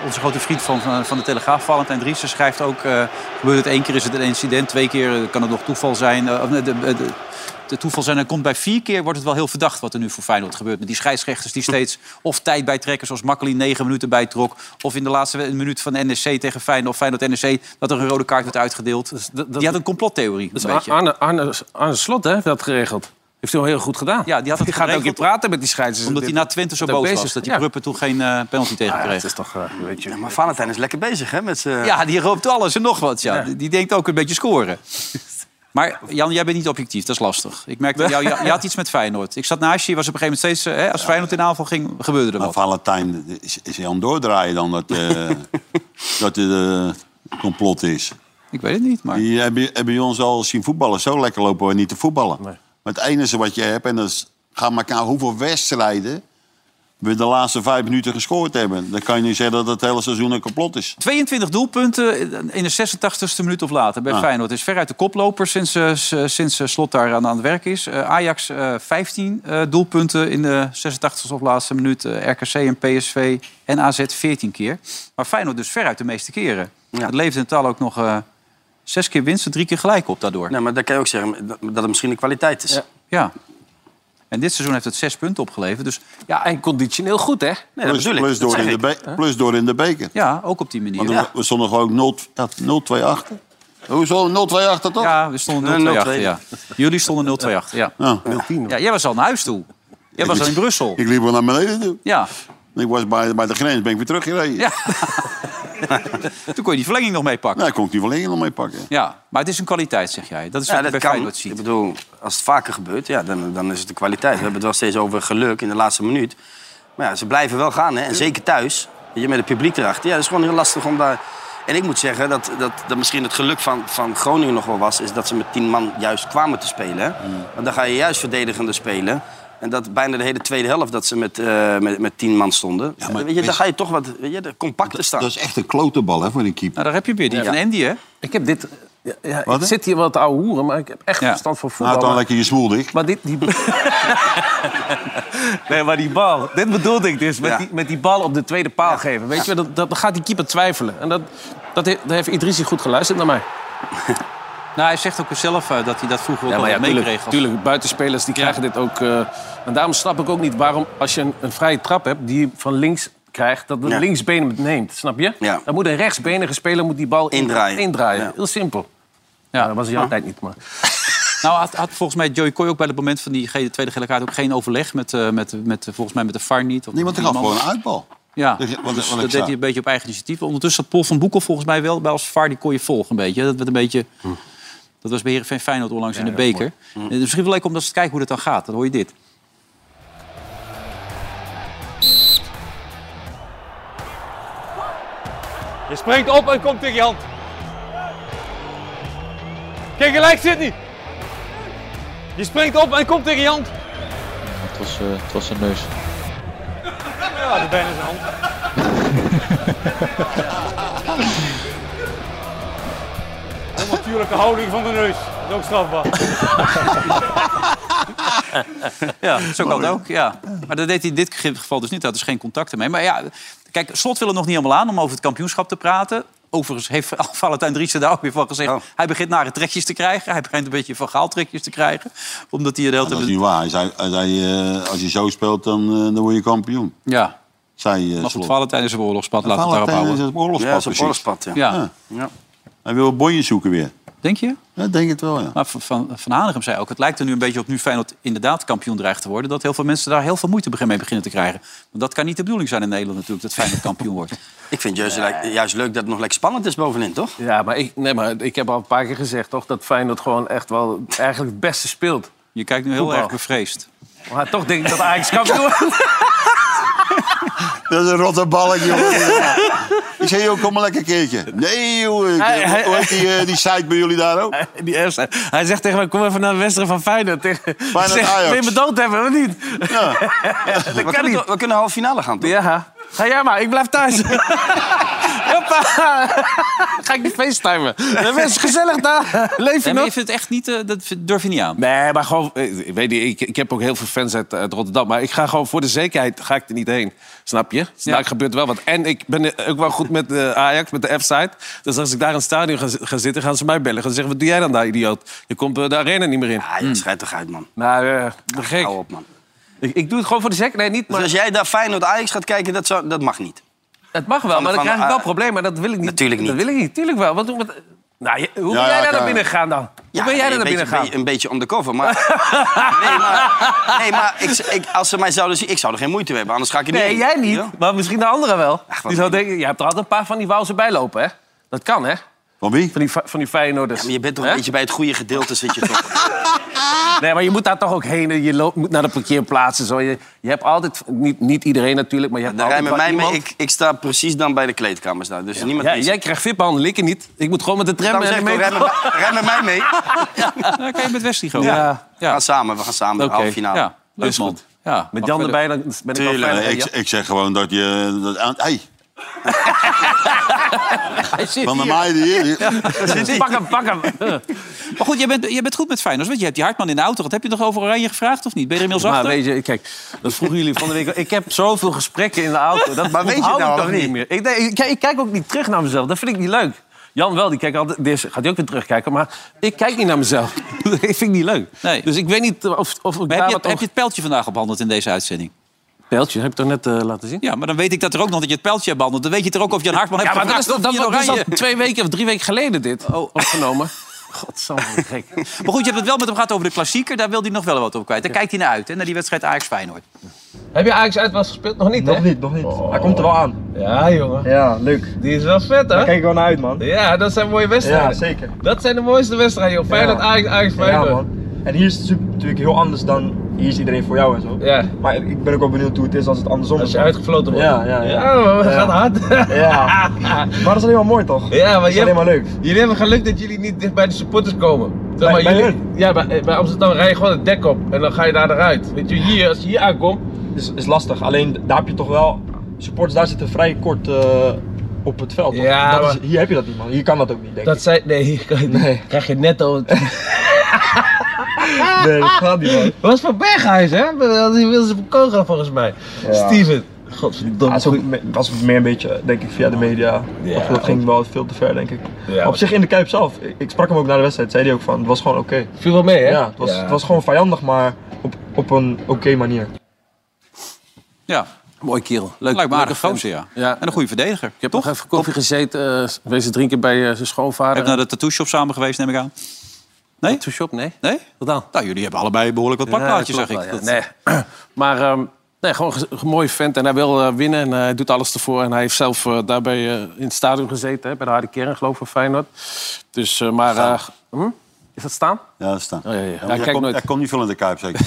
Onze grote vriend van, van- van de Telegraaf, Valentijn Driessen, schrijft ook... eh, gebeurt het één keer, is het een incident. Twee keer eh, kan het nog toeval zijn. eh, of nee, de, de, de- de toeval zijn. En komt bij vier keer wordt het wel heel verdacht wat er nu voor Feyenoord gebeurt. Met die scheidsrechters die steeds of tijd bijtrekken... zoals Makkeli negen minuten bijtrok. Of in de laatste we- minuut van NEC tegen Feyenoord, of Feyenoord-NEC... dat er een rode kaart werd uitgedeeld. Dus dat- dat- die had een complottheorie, Dus een beetje. Arne, Arne, Arne Slot hè, heeft dat geregeld. Heeft hij wel heel goed gedaan. Ja, die had het gaat ook geregeld. niet praten met die scheidsrechter. omdat hij na Twente zo dat boos bezig was. is, Dat die ja. Pruppen toen geen eh, penalty tegen Ja, kreeg. het is toch, eh, weet je... Ja, maar Valentijn is lekker bezig, hè? Met zijn- Ja, die roopt alles en nog wat. Ja. Die, die denkt ook een beetje scoren. Maar Jan, jij bent niet objectief, dat is lastig. Ik merkte, jou, jou- je had iets met Feyenoord. Ik zat naast je, je was op een gegeven moment steeds... eh, Hè, als Feyenoord in aanval ging, gebeurde er Maar wat. Valentijn is, is heel aan het doordraaien dan dat, eh dat het eh, complot is. Ik weet het niet, maar... Die hebben, hebben ons al zien voetballen. Zo lekker lopen we niet te voetballen. Maar het enige wat je hebt, en dat is, gaan elkaar hoeveel wedstrijden we de laatste vijf minuten gescoord hebben. Dan kan je niet zeggen dat het hele seizoen een complot is. 22 doelpunten in de 86e minuut of later bij Feyenoord. Is veruit de koploper sinds, eh, s- eh, sinds eh, Slot daar aan aan het werk is. Eh, Ajax eh, 15 eh, doelpunten in de 86e of laatste minuut. Eh, RKC en PSV en AZ 14 keer. Maar Feyenoord dus veruit de meeste keren. Ja. Het leefde in totaal ook nog eh, zes keer winst en drie keer gelijk op daardoor. Ja. Nee, maar dan kan je ook zeggen dat, dat het misschien de kwaliteit is. En dit seizoen heeft het zes punten opgeleverd. Dus Ja, en conditioneel goed, hè? Nee, dat plus, bedoel ik. plus Dat door zeg in de ik. be- plus door in de beker. ja, ook op die Want manier. we- Ja. we stonden gewoon 0 ja, 0-2 achter. Hoezo 0-2 achter toch? Ja, we stonden 0-2 Ja, 0-2. achter. Ja. Jullie stonden 0-2 achter. Ja. Nou, ja, jij was al naar huis toe. Jij was al in Brussel. Ik liep wel naar beneden toe. Ja, Ik was bij, bij de grens, ben ik weer teruggereden. Ja. Toen kon je die verlenging nog meepakken. Nou, kon ik die verlenging nog mee pakken. Ja, maar het is een kwaliteit, zeg jij. Dat is wat Ja, je bij dat kan. Feyenoord Ik ziet. bedoel, als het vaker gebeurt, ja, dan, dan is het de kwaliteit. We hebben het wel steeds over geluk in de laatste minuut. Maar ja, ze blijven wel gaan, hè. En zeker thuis. Weet je, met het publiek erachter. Ja, dat is gewoon heel lastig om daar... En ik moet zeggen dat, dat, dat misschien het geluk van, van Groningen nog wel was... is dat ze met tien man juist kwamen te spelen. hè. Want dan ga je juist verdedigende spelen. En dat bijna de hele tweede helft dat ze met, eh, met, met tien man stonden. Ja, maar weet je, dan wist- ga je toch wat weet je, de compacter staan. Dat is echt een klote bal hè, voor een keeper. Nou, daar heb je weer die van Andy, hè? Ik heb dit... Ja, ja, Wat, ik hè? zit hier wat ouwe hoeren, maar ik heb echt Ja. verstand van voetbal. Haat dan maar- lekker je smoel dicht. Maar dit, die... nee, maar die bal. Dit bedoelde ik dus. Met, Ja. die, met die bal op de tweede paal geven. Weet je, wel, dat, dat gaat die keeper twijfelen. En dat, dat, heeft, daar heeft Idrissi goed geluisterd naar mij. Nou, hij zegt ook zelf eh, dat hij dat vroeger ook Ja, al maar ja, meekreeg. tuurlijk, als- tuurlijk, buitenspelers die krijgen dit ook. eh, en daarom snap ik ook niet waarom, als je een, een vrije trap hebt die je van links krijgt, dat de Ja. linksbeen het neemt. Snap je? Ja. Dan moet een rechtsbenige speler moet die bal in- Indraaien. indraaien. Ja. Heel simpel. Ja. Ja. dat was in jouw tijd niet, maar... Nou, had, had volgens mij Joey Coy ook bij het moment van die ge- tweede gele kaart ook geen overleg met, eh, met, met eh, volgens mij met de VAR niet. Of Niemand met gaf iemand. gewoon een uitbal. Ja, Dus, dus wat- wat ik dat deed zag. hij een beetje op eigen initiatief. Ondertussen zat Paul van Boekel volgens mij wel bij als VAR. Die kon je volgen een beetje. Dat werd een beetje... Hm. Dat was bij Heerenveen Feyenoord onlangs in de beker. Eh, dus Misschien wel leuk om dat eens te kijken hoe dat dan gaat. Dan hoor je dit. Je springt op en komt tegen je hand. Kijk, gelijk zit niet. Je springt op en komt tegen je hand. Het was, eh, het was een neus. Ja, de benen zijn hand. Onnatuurlijke houding van de neus. Dat is ook strafbaar. Ja, zo kan het ook, ja. Maar dat deed hij in dit geval dus niet. Hij had dus geen contacten mee. Maar ja, kijk, Slot wil er nog niet helemaal aan om over het kampioenschap te praten. Overigens heeft Valentijn Driessen daar ook weer van gezegd... Oh. hij begint nare trekjes te krijgen. Hij begint een beetje van gaaltrekjes te krijgen. Omdat hij de hele Ah, Dat is tijd... niet waar. Hij zei, hij zei, eh, als je zo speelt, dan, eh, dan word je kampioen. Ja, Zei, eh, maar goed, Slot. Valentijn is een oorlogspad. Laten we het daarop Valentijn is houden. het oorlogspad, ja, dat is een precies. oorlogspad, ja. Ja, Ja. Hij wil bonje zoeken weer. denk je? Ja, denk het wel, ja. Maar Van, van, van Hanegem zei ook, het lijkt er nu een beetje op... nu Feyenoord inderdaad kampioen dreigt te worden... dat heel veel mensen daar heel veel moeite begin- mee beginnen te krijgen. Want dat kan niet de bedoeling zijn in Nederland natuurlijk... dat Feyenoord kampioen wordt. Ik vind juist, juist leuk dat het nog lekker spannend is bovenin, toch? Ja, maar ik, nee, maar ik heb al een paar keer gezegd, toch? Dat Feyenoord gewoon echt wel eigenlijk het beste speelt. Je kijkt nu heel Voetbal. erg bevreesd. Maar toch denk ik dat Ajax kampioen wordt. Dat is een rotte balletje. hoor. Ik zei, joh, kom maar lekker een keertje. Nee, joh. ik- Hij- hij- hoe heet die, eh, die site bij jullie daar ook? Die Erfstein. Hij zegt tegen mij, kom even naar de wedstrijd van Feyenoord. Tegen... Feyenoord Ik zeg, Ajax. Wil je me dood hebben of niet? Ja. Dat We kan kunnen, niet. toch- we kunnen halve finale gaan, toch? Ja. Ga jij maar, ik blijf thuis. Hoppa. Ga ik niet facetimen. Dat is gezellig daar. Leef je Nee, nog? maar je vindt het echt niet, eh, dat vind- durf je niet aan. Nee, maar gewoon, eh, ik weet niet, ik, ik heb ook heel veel fans uit, uit Rotterdam. Maar ik ga gewoon voor de zekerheid ga ik er niet heen. Snap je? Dus Daar gebeurt wel wat. En ik ben eh, ook wel goed met de Ajax, met de F-site. Dus als ik daar in het stadion ga, zi- ga zitten, gaan ze mij bellen. Gaan ze zeggen, wat doe jij dan daar, idioot? Je komt eh, de arena niet meer in. Ja, dat schijt toch uit, man. Nou, eh, ben gek. Hou op, man. Ik, ik doe het gewoon voor de zekerheid. Nee, niet, Dus maar als jij daar Feyenoord-Ajax gaat kijken, dat, zou, dat mag niet. het mag wel. Maar dan van- krijg ik wel ah, problemen. En dat wil ik niet. natuurlijk niet. Dat wil ik niet. Tuurlijk wel. Wat, wat, nou, je- hoe Ja, ben jij ja, daar kan. naar binnen gegaan dan? Hoe ben jij eh, nee, daar naar een binnen beetje, gegaan? Een beetje undercover, maar... nee, maar, nee, maar ik, ik, als ze mij zouden zien... Ik zou er geen moeite mee hebben, anders ga ik er niet Nee, heen. jij niet. Ja? Maar misschien de anderen wel. wat die zou ding. denken, je hebt er altijd een paar van die wauwse bijlopen, hè? Dat kan, hè? Van wie? Van die, fa- van die Feyenoorders. Maar je bent toch een Hè? beetje bij het goede gedeelte zit je toch. Nou, Nee, maar je moet daar toch ook heen. en Je loopt, moet naar de parkeerplaatsen. Zo. Je, je hebt altijd... Niet, niet iedereen natuurlijk, Nou, maar je hebt Daar rij altijd met wel mij mee. iemand. Ik, ik sta precies dan bij de kleedkamers daar. Dus niemand... Ja, die- jij krijgt vipbehandeling, ik niet. Ik moet gewoon met de tram Daarom en zeg de ik toch, metro. rij met, rij met mij mee. Dan kan je met Westie gewoon. Ja. We gaan samen, we gaan samen. Oké. Halve finale. Ja, leuk Is man. goed. Ja. Met Jan erbij, dan ben ik al Tuurlijk. fijn. Nee, ik, ik zeg gewoon dat je... Dat, aan- hey, van de meiden hier. Pak hem, pak hem. Maar goed, jij bent, jij bent goed met Feyenoord. Want je hebt die Hartman in de auto. Wat heb je nog over Oranje gevraagd of niet? Ben je er inmiddels Maar achter? weet je, kijk, dat vroegen jullie van de week. al. Ik heb zoveel gesprekken in de auto. Dat Maar weet je onthoud het nou ik toch of niet niet? meer. Ik, nee, ik, kijk- ik kijk ook niet terug naar mezelf. Dat vind ik niet leuk. Jan wel, die kijkt altijd. Deze gaat hij ook weer terugkijken. Maar ik kijk niet naar mezelf. dat vind ik niet leuk. Nee. Dus ik weet niet of, of ik Maar daar heb, wat je, heb je het pijltje vandaag behandeld in deze uitzending? pijltje? Heb ik toch net eh, laten zien? Ja, maar dan weet ik dat er ook nog dat je het pijltje hebt behandeld. Dan weet je er ook of Jan Hartman Ja, hebt maar dat is, gevraagd dat, of dat, die in dat is al Oranje. twee weken of drie weken geleden dit opgenomen. Oh. Godsamme, wat gek. Maar goed, je hebt het wel met hem gehad over de klassieker. Daar wil hij nog wel wat op kwijt. Daar kijkt hij naar uit, hè, naar die wedstrijd Ajax-Feyenoord. Heb je Ajax uit was gespeeld? Nog niet, hè? Oh. niet, nog niet. Hij komt er wel aan. Ja, jongen. Ja, leuk. Die is wel vet, hè? Daar kijk ik wel naar uit, man. Ja, dat zijn mooie wedstrijden. Ja, zeker. Dat zijn de mooiste wedstrijden, joh. Feyenoord, Ajax, Ajax, Ja, Feyenoord. man. En hier is het super, natuurlijk heel anders dan hier is iedereen voor jou en zo. Ja. Maar ik ben ook wel benieuwd hoe het is als het andersom Als is. je man. uitgefloten wordt. Ja, ja, ja. Ja, man, dat Ja. gaat hard. Ja. Maar dat is alleen maar mooi toch? Ja, maar dat is je alleen maar leuk. Jullie hebben geluk dat jullie niet dicht bij de supporters komen. Zeg Bij- bij jullie, hun? ja, bij, bij Amsterdam rij je gewoon het dek op en dan ga je daar eruit. Weet je, hier, als je hier aankomt, Is, is lastig, alleen daar heb je toch wel. Supporters daar zitten vrij kort eh, op het veld. toch? Ja, dat is, maar- hier heb je dat niet, man. Hier kan dat ook niet, denk dat ik. zijn. Nee, hier kan je- Nee. krijg je netto. Nee, dat gaat niet, man. was van Berghuis, hè? Die wilden ze verkogen volgens mij. Steven. Godverdomme. Ja, het is ook me- was meer een beetje, denk ik, via de media. Ja, Of dat ging wel veel te ver, denk ik. Ja. Maar op zich in de Kuip zelf. Ik, ik sprak hem ook na de wedstrijd, zei hij ook van, het was gewoon oké. Viel wel mee, hè? Ja, het was, het was gewoon vijandig, maar op, op een oké manier. Ja, Mooi kerel. Leuk, lijkt me aardig leuke gozer, ja. Ja. En een goede verdediger. Ik heb nog even koffie gezeten, eh wezen drinken bij eh, zijn Je schoonvader. hebt naar de tattoo shop samen geweest, neem ik aan. Nee? shop, nee. Nee? Wat dan? Nou, jullie hebben allebei behoorlijk wat plakplaatjes, Ja, zeg ik. klopt Dat- wel, ja. Nee. Maar ehm, nee, gewoon een ge- een mooie vent. En hij wil eh, winnen en hij doet alles ervoor. En hij heeft zelf eh, daarbij eh, in het stadion gezeten. Hè, bij de harde kern, geloof ik, van Feyenoord. Dus, eh, maar... eh, hm? Is dat staan? Ja, dat staat. Oh, ja, ja. Ja, Daar kijk komt- nooit. daar komt niet veel in de Kuip, zeker.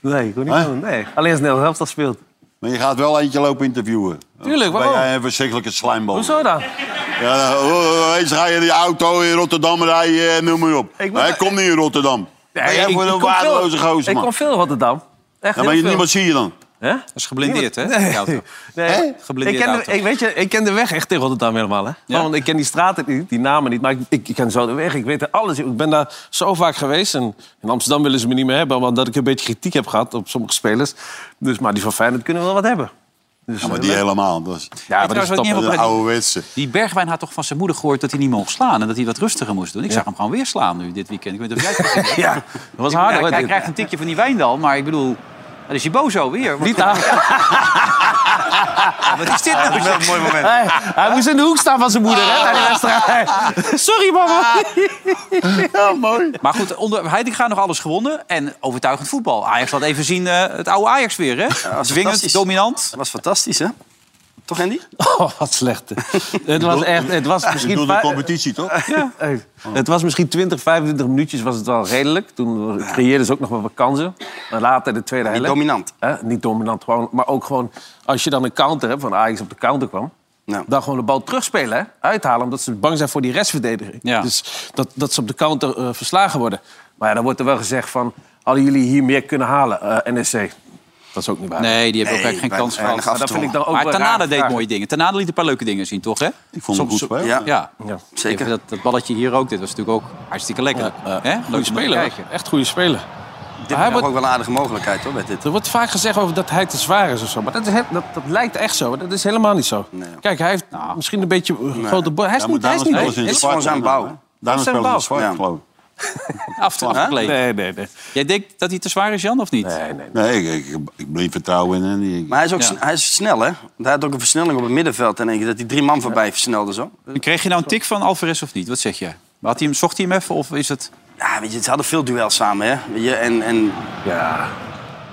Nee, ik wil niet Hè? doen. Nee. Alleen als Nederland helft dat speelt. Maar je gaat wel eentje lopen interviewen. Tuurlijk, Ben waarom? jij een verschrikkelijke slijmbal? Hoezo dan? Ja, nou, oh, oh, eens ga je in die auto in Rotterdam rijden en noem maar op. Ik ben- Hij komt niet in Rotterdam. Ben jij voor een kom veel- waardeloze gozer, Ik man. kom veel in Rotterdam. Echt Ja, heel maar je, veel. niemand zie je dan. Hè? Dat is geblindeerd, hè? die auto. Nee, ik Geblindeerd ken, auto. de, ik, weet je, ik ken de weg echt in Rotterdam helemaal. Hè? Gewoon, ik ken die straten niet, die namen niet. Maar ik, ik, ik ken zo de weg, ik weet er alles. Ik ben daar zo vaak geweest. En in Amsterdam willen ze me niet meer hebben... omdat ik een beetje kritiek heb gehad op sommige spelers. Dus, maar die van Feyenoord kunnen wel wat hebben. Dus, Ja, maar eh, die helemaal. Dat is ja, maar dat is trouwens wat top. niet dat is een ouderwetse. Die Bergwijn had toch van zijn moeder gehoord dat hij niet mocht slaan... en dat hij wat rustiger moest doen. Ik zag hem gewoon weer slaan nu, dit weekend. Ik weet niet of jij het gezien hebt. Ja, dat was Ik- hard. ja, hoor. Hij krijgt een tikje van die Wijndal, maar ik bedoel... Dat is je bozo weer. Wat, Niet aan. wat is dit nou? Wel een mooi moment. Hij, hij moest in de hoek staan van zijn moeder. Ah. Hè, bij de wedstrijd. Sorry, mama. Ah. Maar goed, onder Heitinga nog alles gewonnen. En overtuigend voetbal. Ajax laat even zien eh, het oude Ajax weer, hè? was Dwingend, fantastisch. dominant. Dat was fantastisch, hè? Toch, Andy? Oh, wat slecht. het was echt... Het was Ik misschien... bedoel de vijf- competitie, Eh, toch? Ja. Het was misschien 20, 25 minuutjes was het wel redelijk. Toen creëerden ze ook nog wel wat kansen. Maar later de tweede helft. dominant. Hè? Niet dominant, gewoon, maar ook gewoon als je dan een counter hebt, van Ajax op de counter kwam. Ja. Dan gewoon de bal terugspelen, hè? uithalen. Omdat ze bang zijn voor die restverdediging. Ja. Dus dat, dat ze op de counter eh, verslagen worden. Maar ja, dan wordt er wel gezegd van... Hadden jullie hier meer kunnen halen, eh, NEC? Dat is ook niet waar. Nee, die hebben Nee, ook eigenlijk geen weinig- kans gehad. weinig Maar dat vind ik dan ook Maar wel Tanada raar deed vragen. mooie dingen. Tanada liet een paar leuke dingen zien, toch? Hè? Ik vond hem goed spelen. Ja, Ja. Ja. zeker. Dat, dat balletje hier ook, dit was natuurlijk ook hartstikke lekker. Hè? Leuk om Goeie te speler. kijken. hoor. Echt goede speler. Dit hij is wordt- ook wel een aardige mogelijkheid, hoor, met dit. Er wordt vaak gezegd over dat hij te zwaar is of zo. Maar dat, is, he- dat, dat lijkt echt zo. maar Dat is helemaal niet zo. Kijk, hij heeft misschien een beetje een grote... bo- Hij is Ja, niet... maar Hij is daarom spelen niet ze in Het het is gewoon zwart. zijn bouw. Daarom spelen zijn ze in het bouw. zwart, Ja. geloof ik. Af, afgekleed. Nee, nee, nee. Jij denkt dat hij te zwaar is, Jan, of niet? nee, nee. Nee, ik, ik, ik bleef vertrouwen in hem. Die- Maar hij is ook Ja. sn- hij is snel, hè? Hij had ook een versnelling op het middenveld. En denk ik dat hij drie man voorbij versnelde zo. Kreeg je nou een tik van Alvarez of niet? Wat zeg jij? Had hij hem, zocht hij hem even of is het... Ja, weet je, ze hadden veel duels samen, hè? Weet je, en, en Ja.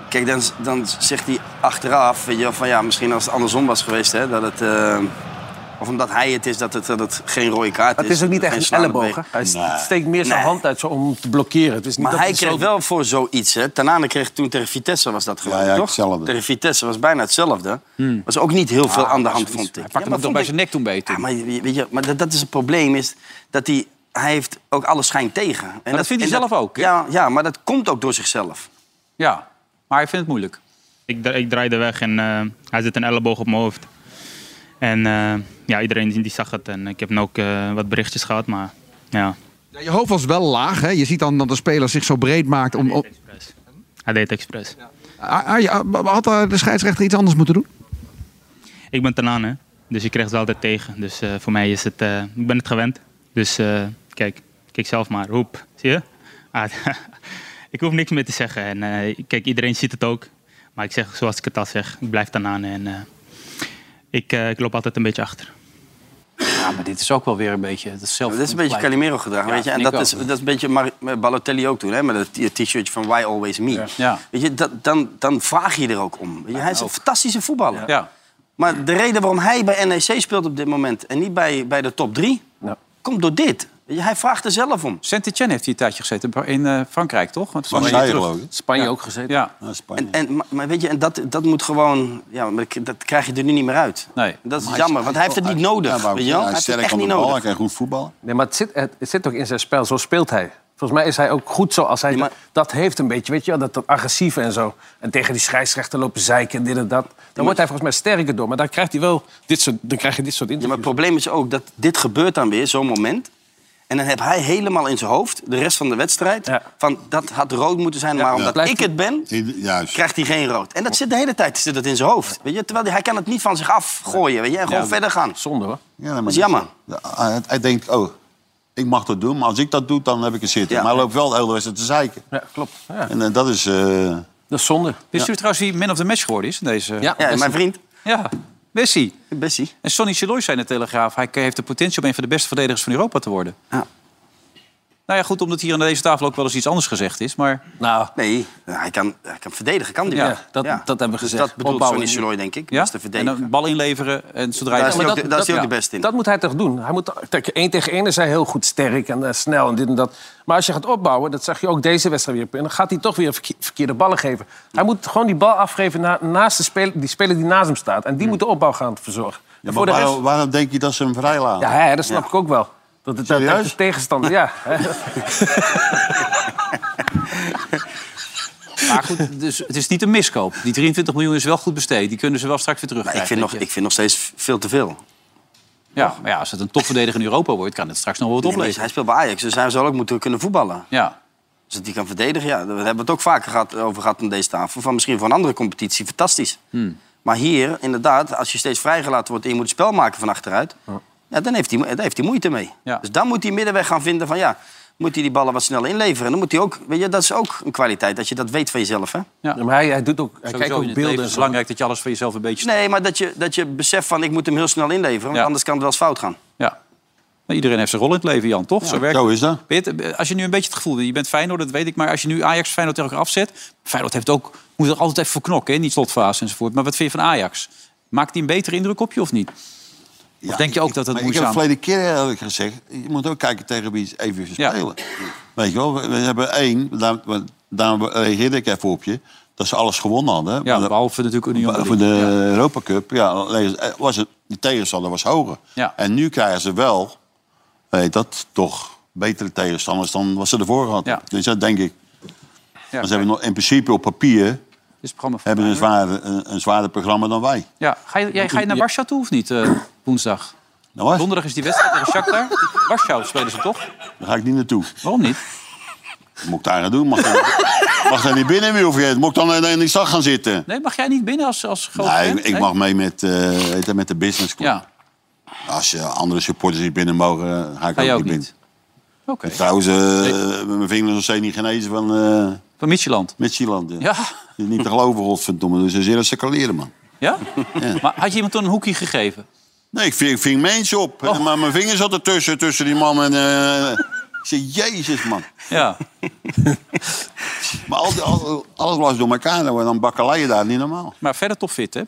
kijk, dan, dan zegt hij achteraf, weet je, van ja, misschien als het andersom was geweest, hè? Dat het, eh, of omdat hij het is, dat het, dat het geen rode kaart Het is ook niet dat echt het een geen slaande elleboog. hè? beweging. Hij st- steekt meer zijn Nee. hand uit zo om te blokkeren. Het is niet Maar dat dus hij zo- kreeg wel voor zoiets, hè? Tanane kreeg toen tegen Vitesse was dat gewoon, Ja, ja, toch? hetzelfde. Ah, Tegen Vitesse was bijna hetzelfde. Hmm. Was ook niet heel veel aan de hand, vond ik. Hij pakte hem maar ook nog vond bij ik- zijn nek toen bij je Ja, toen. maar, je- weet je, maar dat, dat is het probleem, is dat hij, hij heeft ook alles schijn tegen. En dat vindt hij en zelf ook, hè? Ja, ja, maar dat komt ook door zichzelf. Ja, maar hij vindt het moeilijk. Ik, dra- ik draaide weg en eh, hij zit een elleboog op mijn hoofd. En eh, ja, iedereen die die zag het. En ik heb nu ook eh, wat berichtjes gehad, maar ja. Ja, je hoofd was wel laag. Hè? Je ziet dan dat de speler zich zo breed maakt. Om, om- Expres. Hij deed het expres. Ah, ah, ja, had eh, de scheidsrechter iets anders moeten doen? Ik ben Tanaan, hè. Dus je krijgt het altijd tegen. Dus eh, voor mij is het... eh, ik ben het gewend. Dus eh, kijk, kijk zelf maar. Roep. Zie je? Ah, ik hoef niks meer te zeggen. En eh, kijk, iedereen ziet het ook. Maar ik zeg zoals ik het al zeg. Ik blijf Tanaan en eh, ik, eh, ik loop altijd een beetje achter. Ja, maar dit is ook wel weer een beetje... Dat is, zelf... Dat is een beetje Calimero-gedrag, weet je. En vind ik dat is, ook. dat is een beetje Mar- Balotelli ook toen, hè. Met het t- t-shirtje van Why Always Me. Ja. Weet je, dat, dan, dan vraag je er ook om. Weet je, hij is een fantastische voetballer. Ja. Maar de reden waarom hij bij NEC speelt op dit moment... en niet bij, bij de top drie, komt door dit. Weet je, hij vraagt er zelf om. Saint-Etienne heeft hier een tijdje gezeten in eh, Frankrijk, toch? Want toen Maar was zij hij terug. geloof ik. Spanje ook gezeten. Ja, Ja, Spanje. En, en, maar- maar weet je, en dat, dat moet gewoon... Ja, maar dat krijg je er nu niet meer uit. nee. Dat is Maar jammer, want hij heeft het niet nodig. wou ik weet je zeggen, wel? Hij Hij heeft is het sterk echt aan de niet bal, hij nodig. kan goed voetballen. Nee, maar het zit, het, het zit ook in zijn spel. Zo speelt hij. Volgens mij is hij ook goed zo als hij... Ja, maar- Dat heeft een beetje, weet je wel, dat, dat agressieve en zo. En tegen die scheidsrechter lopen zeiken en dit en dat. Dan wordt hij volgens mij sterker door. Maar dan, krijgt hij wel dit soort, dan krijg je dit soort Ja, interviews. maar het probleem is ook dat dit gebeurt dan weer, zo'n moment. En dan heb hij helemaal in zijn hoofd, de rest van de wedstrijd... Ja. van dat had rood moeten zijn, maar omdat Blijft ik hij- het ben... In- Juist. krijgt hij geen rood. En dat zit de hele tijd zit dat in zijn hoofd. Weet je? Terwijl hij, hij kan het niet van zich afgooien weet je? en gewoon verder gaan. Zonde, hoor. Ja, maar Dat is jammer. Ja, Hij, hij denkt, oh, ik mag dat doen, maar als ik dat doe, dan heb ik een zitten. Ja. Maar hij loopt wel de hele wedstrijd te zeiken. Ja, klopt. Ja, En eh, dat is... eh, dat is zonde. Wist u trouwens wie man of the match geworden is? in Deze... Ja. Ja, en mijn vriend, ja. Messi. Bessie. En Sonny Siloy zei in de Telegraaf... hij heeft de potentie om een van de beste verdedigers van Europa te worden. Ja. Nou ja, goed, omdat hier aan deze tafel ook wel eens iets anders gezegd is. Maar Nou, Nee, hij kan, hij kan verdedigen, kan die Ja, wel. dat- dat hebben we Dus gezegd. dat bedoelt Opbouwen. Sonny Siloy, denk ik. ja, dus Ja? de en verdediger. dan bal inleveren en zodra je... Daar is hij maar ook, dat- de- daar is hij ook ja, de beste in. Dat moet hij toch doen. Hij moet, kijk, één tegen één is hij heel goed sterk en eh, snel en dit en dat. Maar als je gaat opbouwen, dat zag je ook deze wedstrijd weer. En dan gaat hij toch weer verke- verkeerde ballen geven. Hij moet gewoon die bal afgeven na- naast de speler, die speler die naast hem staat. Hmm. En die moet de opbouw gaan verzorgen. ja, En maar voor de rest, waarom, waarom denk je dat ze hem vrijlaten? ja, hè, dat snap ik ook wel. Dat het dat- dat Serieus? de tegenstander, ja. hè. Maar goed, dus, het is niet een miskoop. Die 23 miljoen is wel goed besteed. Die kunnen ze wel straks weer Maar terugkrijgen. ik, vind nog, weet ik vind nog steeds veel te veel. je. ja, maar ja, als het een topverdediger in Europa wordt... kan het straks nog wel wat Nee, maar opleveren. hij speelt bij Ajax, dus hij zou ook moeten kunnen voetballen. Ja. Dus dat hij kan verdedigen, ja, daar hebben we het ook vaker gehad, over gehad aan deze tafel. Van misschien voor een andere competitie, fantastisch. Hmm. Maar hier, inderdaad, als je steeds vrijgelaten wordt en je moet het spel maken van achteruit... Ja, dan heeft hij, mo- daar heeft hij moeite mee. Ja. Dus dan moet hij middenweg gaan vinden van ja, moet hij die ballen wat sneller inleveren. Dan moet hij ook, weet je, dat is ook een kwaliteit, dat je dat weet van jezelf. Hè? Ja, Maar hij, hij doet ook, hij Sowieso kijkt in ook het leven beelden. is en het zo. belangrijk dat je alles voor jezelf een beetje... Nee, maar dat je, dat je beseft van ik moet hem heel snel inleveren, want Ja. anders kan het wel eens fout gaan. Ja. Nou, iedereen heeft zijn rol in het leven, Jan, toch? Zo werkt Zo is dat. Peter, als je nu een beetje het gevoel hebt, je bent Feyenoord, dat weet ik, maar als je nu Ajax Feyenoord tegen elkaar afzet, Feyenoord heeft ook, moet er altijd even voor knokken, hè, in die slotfase enzovoort. Maar wat vind je van Ajax? Maakt die een betere indruk op je of niet? Ja, denk je ook dat het maar Ik heb moeizaam- het verleden keer eigenlijk gezegd. Je moet ook kijken tegen wie ze even Ja. spelen. Weet je wel, we, we hebben één. Daar, we- daar reageerde ik eh, even op je. dat ze alles gewonnen hadden. Ja, behalve natuurlijk Union Voor de Europa Cup, ja, alleen was het, die tegenstander was hoger. Ja. En nu krijgen ze wel, weet dat, toch betere tegenstanders dan wat ze ervoor hadden. Ja. Dus dat denk ik. Ja, Maar ze hebben nog, in principe op papier dit is het programma van hebben ze een, Feyenoord. zwaarder, een, een zwaarder programma dan wij. Ja, ga je, jij, ga je naar Warschau toe of niet eh, woensdag? Nou, wat? Donderdag is die wedstrijd tegen Shakhtar. Warschau spelen ze toch? Daar ga ik niet naartoe. Waarom niet? Wat moet ik daar aan doen? Mag, ik- mag daar niet binnen, Wilfred? Moet ik dan in die stad gaan zitten? Nee, mag jij niet binnen als, als groot Nee, fan? ik, ik mag mee met, eh, heet dat, met de business club. Ja, Als eh, andere supporters niet binnen mogen, eh, ga ik ga ook, jij ook niet binnen. niet. Oké. Trouwens, eh, met mijn vinger is nog steeds niet genezen van eh Van Micheland. met Chieland. Ja. Ja? Het is Niet te geloven, godverdomme. Dus ze zullen ze kaleren, man. ja? Maar had je iemand toen een hoekje gegeven? Nee, ik ving, ik ving mensen op. Oh. Maar mijn vinger zat ertussen, tussen die man en... eh, ik zei, jezus, man. Ja. Maar al, die- al- alles was door elkaar. En dan bakkeleien daar niet normaal. Maar verder topfit, hè?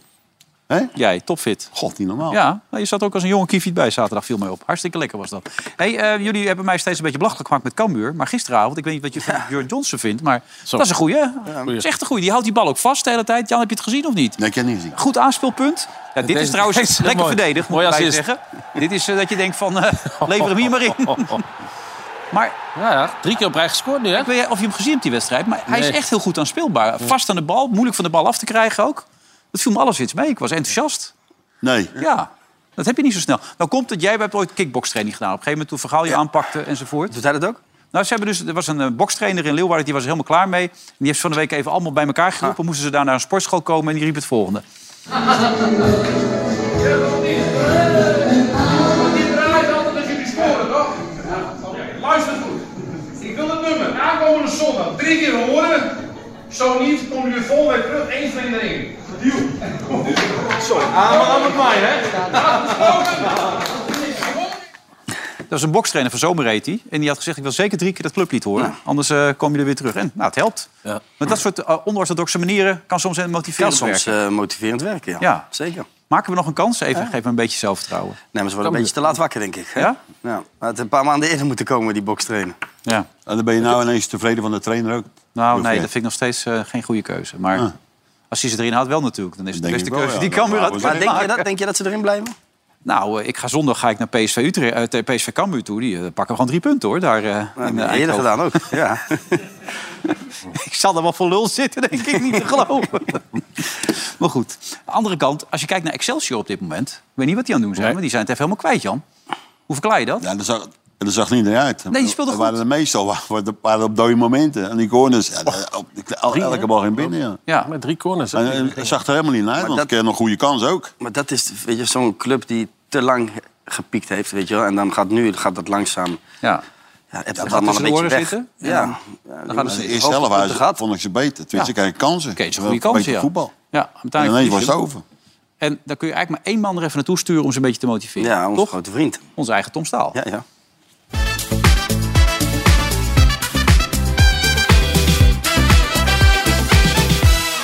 Hè? Jij, topfit. God, niet normaal. Ja, nou, je zat ook als een jonge kiefiet bij zaterdag, viel mij op. Hartstikke lekker was dat. Hey, eh, jullie hebben mij steeds een beetje belachelijk gemaakt met Cambuur. Maar gisteravond, ik weet niet wat je van Björn Johnson vindt, maar dat is een goeie. Dat is echt een goeie. Die houdt die bal ook vast de hele tijd. Jan, heb je het gezien of niet? Nee, ik heb het niet gezien. Goed aanspeelpunt. Ja, dit is Deze- trouwens deze is lekker mooi. verdedigd, moet Mooi ik bij je assist. zeggen. Dit is eh, dat je denkt van, eh, lever hem hier maar in. maar Ja, ja, drie keer op rij gescoord nu, hè? ik weet niet of je hem gezien hebt, die wedstrijd. Maar hij Nee. is echt heel goed aanspeelbaar. Vast aan de bal, moeilijk van de bal af te krijgen ook. Dat viel me alles iets mee. Ik was enthousiast. Nee. Ja, dat heb je niet zo snel. Nou komt het, jij hebt ooit kickbokstraining gedaan. Op een gegeven moment toen Vergaal je aanpakte enzovoort. Doet hij dat ook? Nou, ze hebben dus, er was een eh, bokstrainer in Leeuwarden, die was er helemaal klaar mee. En die heeft ze van de week even allemaal bij elkaar geroepen. Moesten ze daar naar een sportschool komen en die riep het volgende. Die draait altijd dat jullie scoren, toch? Oké, Luister goed. Ik wil het nummer aankomende zondag drie keer horen. Zo niet, komen jullie vol weer terug, één vlinder in. Deal. Zo, aan met mij, hè? Dat was een bokstrainer van Zomer heet die. En die had gezegd, ik wil zeker drie keer dat clublied horen. Anders eh komen jullie weer terug. En nou, het helpt. Ja. Maar dat soort eh, onorthodoxe manieren kan soms een Kan motiverend soms werken. eh, motiverend werken, ja. Ja. Zeker. Maken we nog een kans? Even, geef me een beetje zelfvertrouwen. Nee, maar ze worden een beetje te laat wakker, denk ik. hè? dus. Ja? Ja. Maar het een paar maanden eerder moeten komen, die bokstrainen. Ja. En dan ben je nou ineens tevreden van de trainer ook. Nou, nee, Wilfred. dat vind ik nog steeds eh, geen goede keuze. Maar Ah. als hij ze erin houdt, wel natuurlijk. Dan is het de Denk beste ik wel, keuze ja. die Cambuur Nou, had we Maar kunnen denk je, maken. dat, denk je dat ze erin blijven? Nou, eh, ik ga zondag ga ik naar PSV, Utrecht, eh, tegen PSV Cambuur toe. Die eh, pakken gewoon drie punten, hoor. Daar, eh, Nou, in, eh, dat heb je eerder Eindhoven. gedaan ook. Ja. Ik zal er wel voor lul zitten, denk ik, niet te geloven. maar goed, aan de andere kant, als je kijkt naar Excelsior op dit moment... Ik weet niet wat die aan het doen zijn, maar die zijn het even helemaal kwijt, Jan. Hoe verklaar je dat? Ja, dat zag, dat zag niet eruit. Nee, die speelde Er goed. Oh. Waren er meestal wa- wa- waren op dode momenten. En die corners, ja, eh, op- el- elke bal in binnen. Ja. Ja, Met drie corners. hè? En, en het zag er helemaal niet naar uit, want dat- ik kreeg nog een goede kans ook. Maar dat is weet je, zo'n club die te lang gepiekt heeft, weet je wel. En dan gaat nu gaat dat langzaam... ja. Ja, hebt gaat dat allemaal een tussen de beetje oren weg. zitten. Ja. ja. dan gaat En het de Precies. eerste helft Hoogtepunten was- gehad. vond ik ze beter. Tenminste, Ja. ik kreeg kansen. Oké, het is een goede Wel kans, beter ja. voetbal. Ja, En uiteindelijk ineens was verlies je het hem. over. En dan kun je eigenlijk maar één man er even naartoe sturen... om ze een beetje te motiveren, Ja, onze toch? grote vriend. Onze eigen Tom Staal. Ja, ja.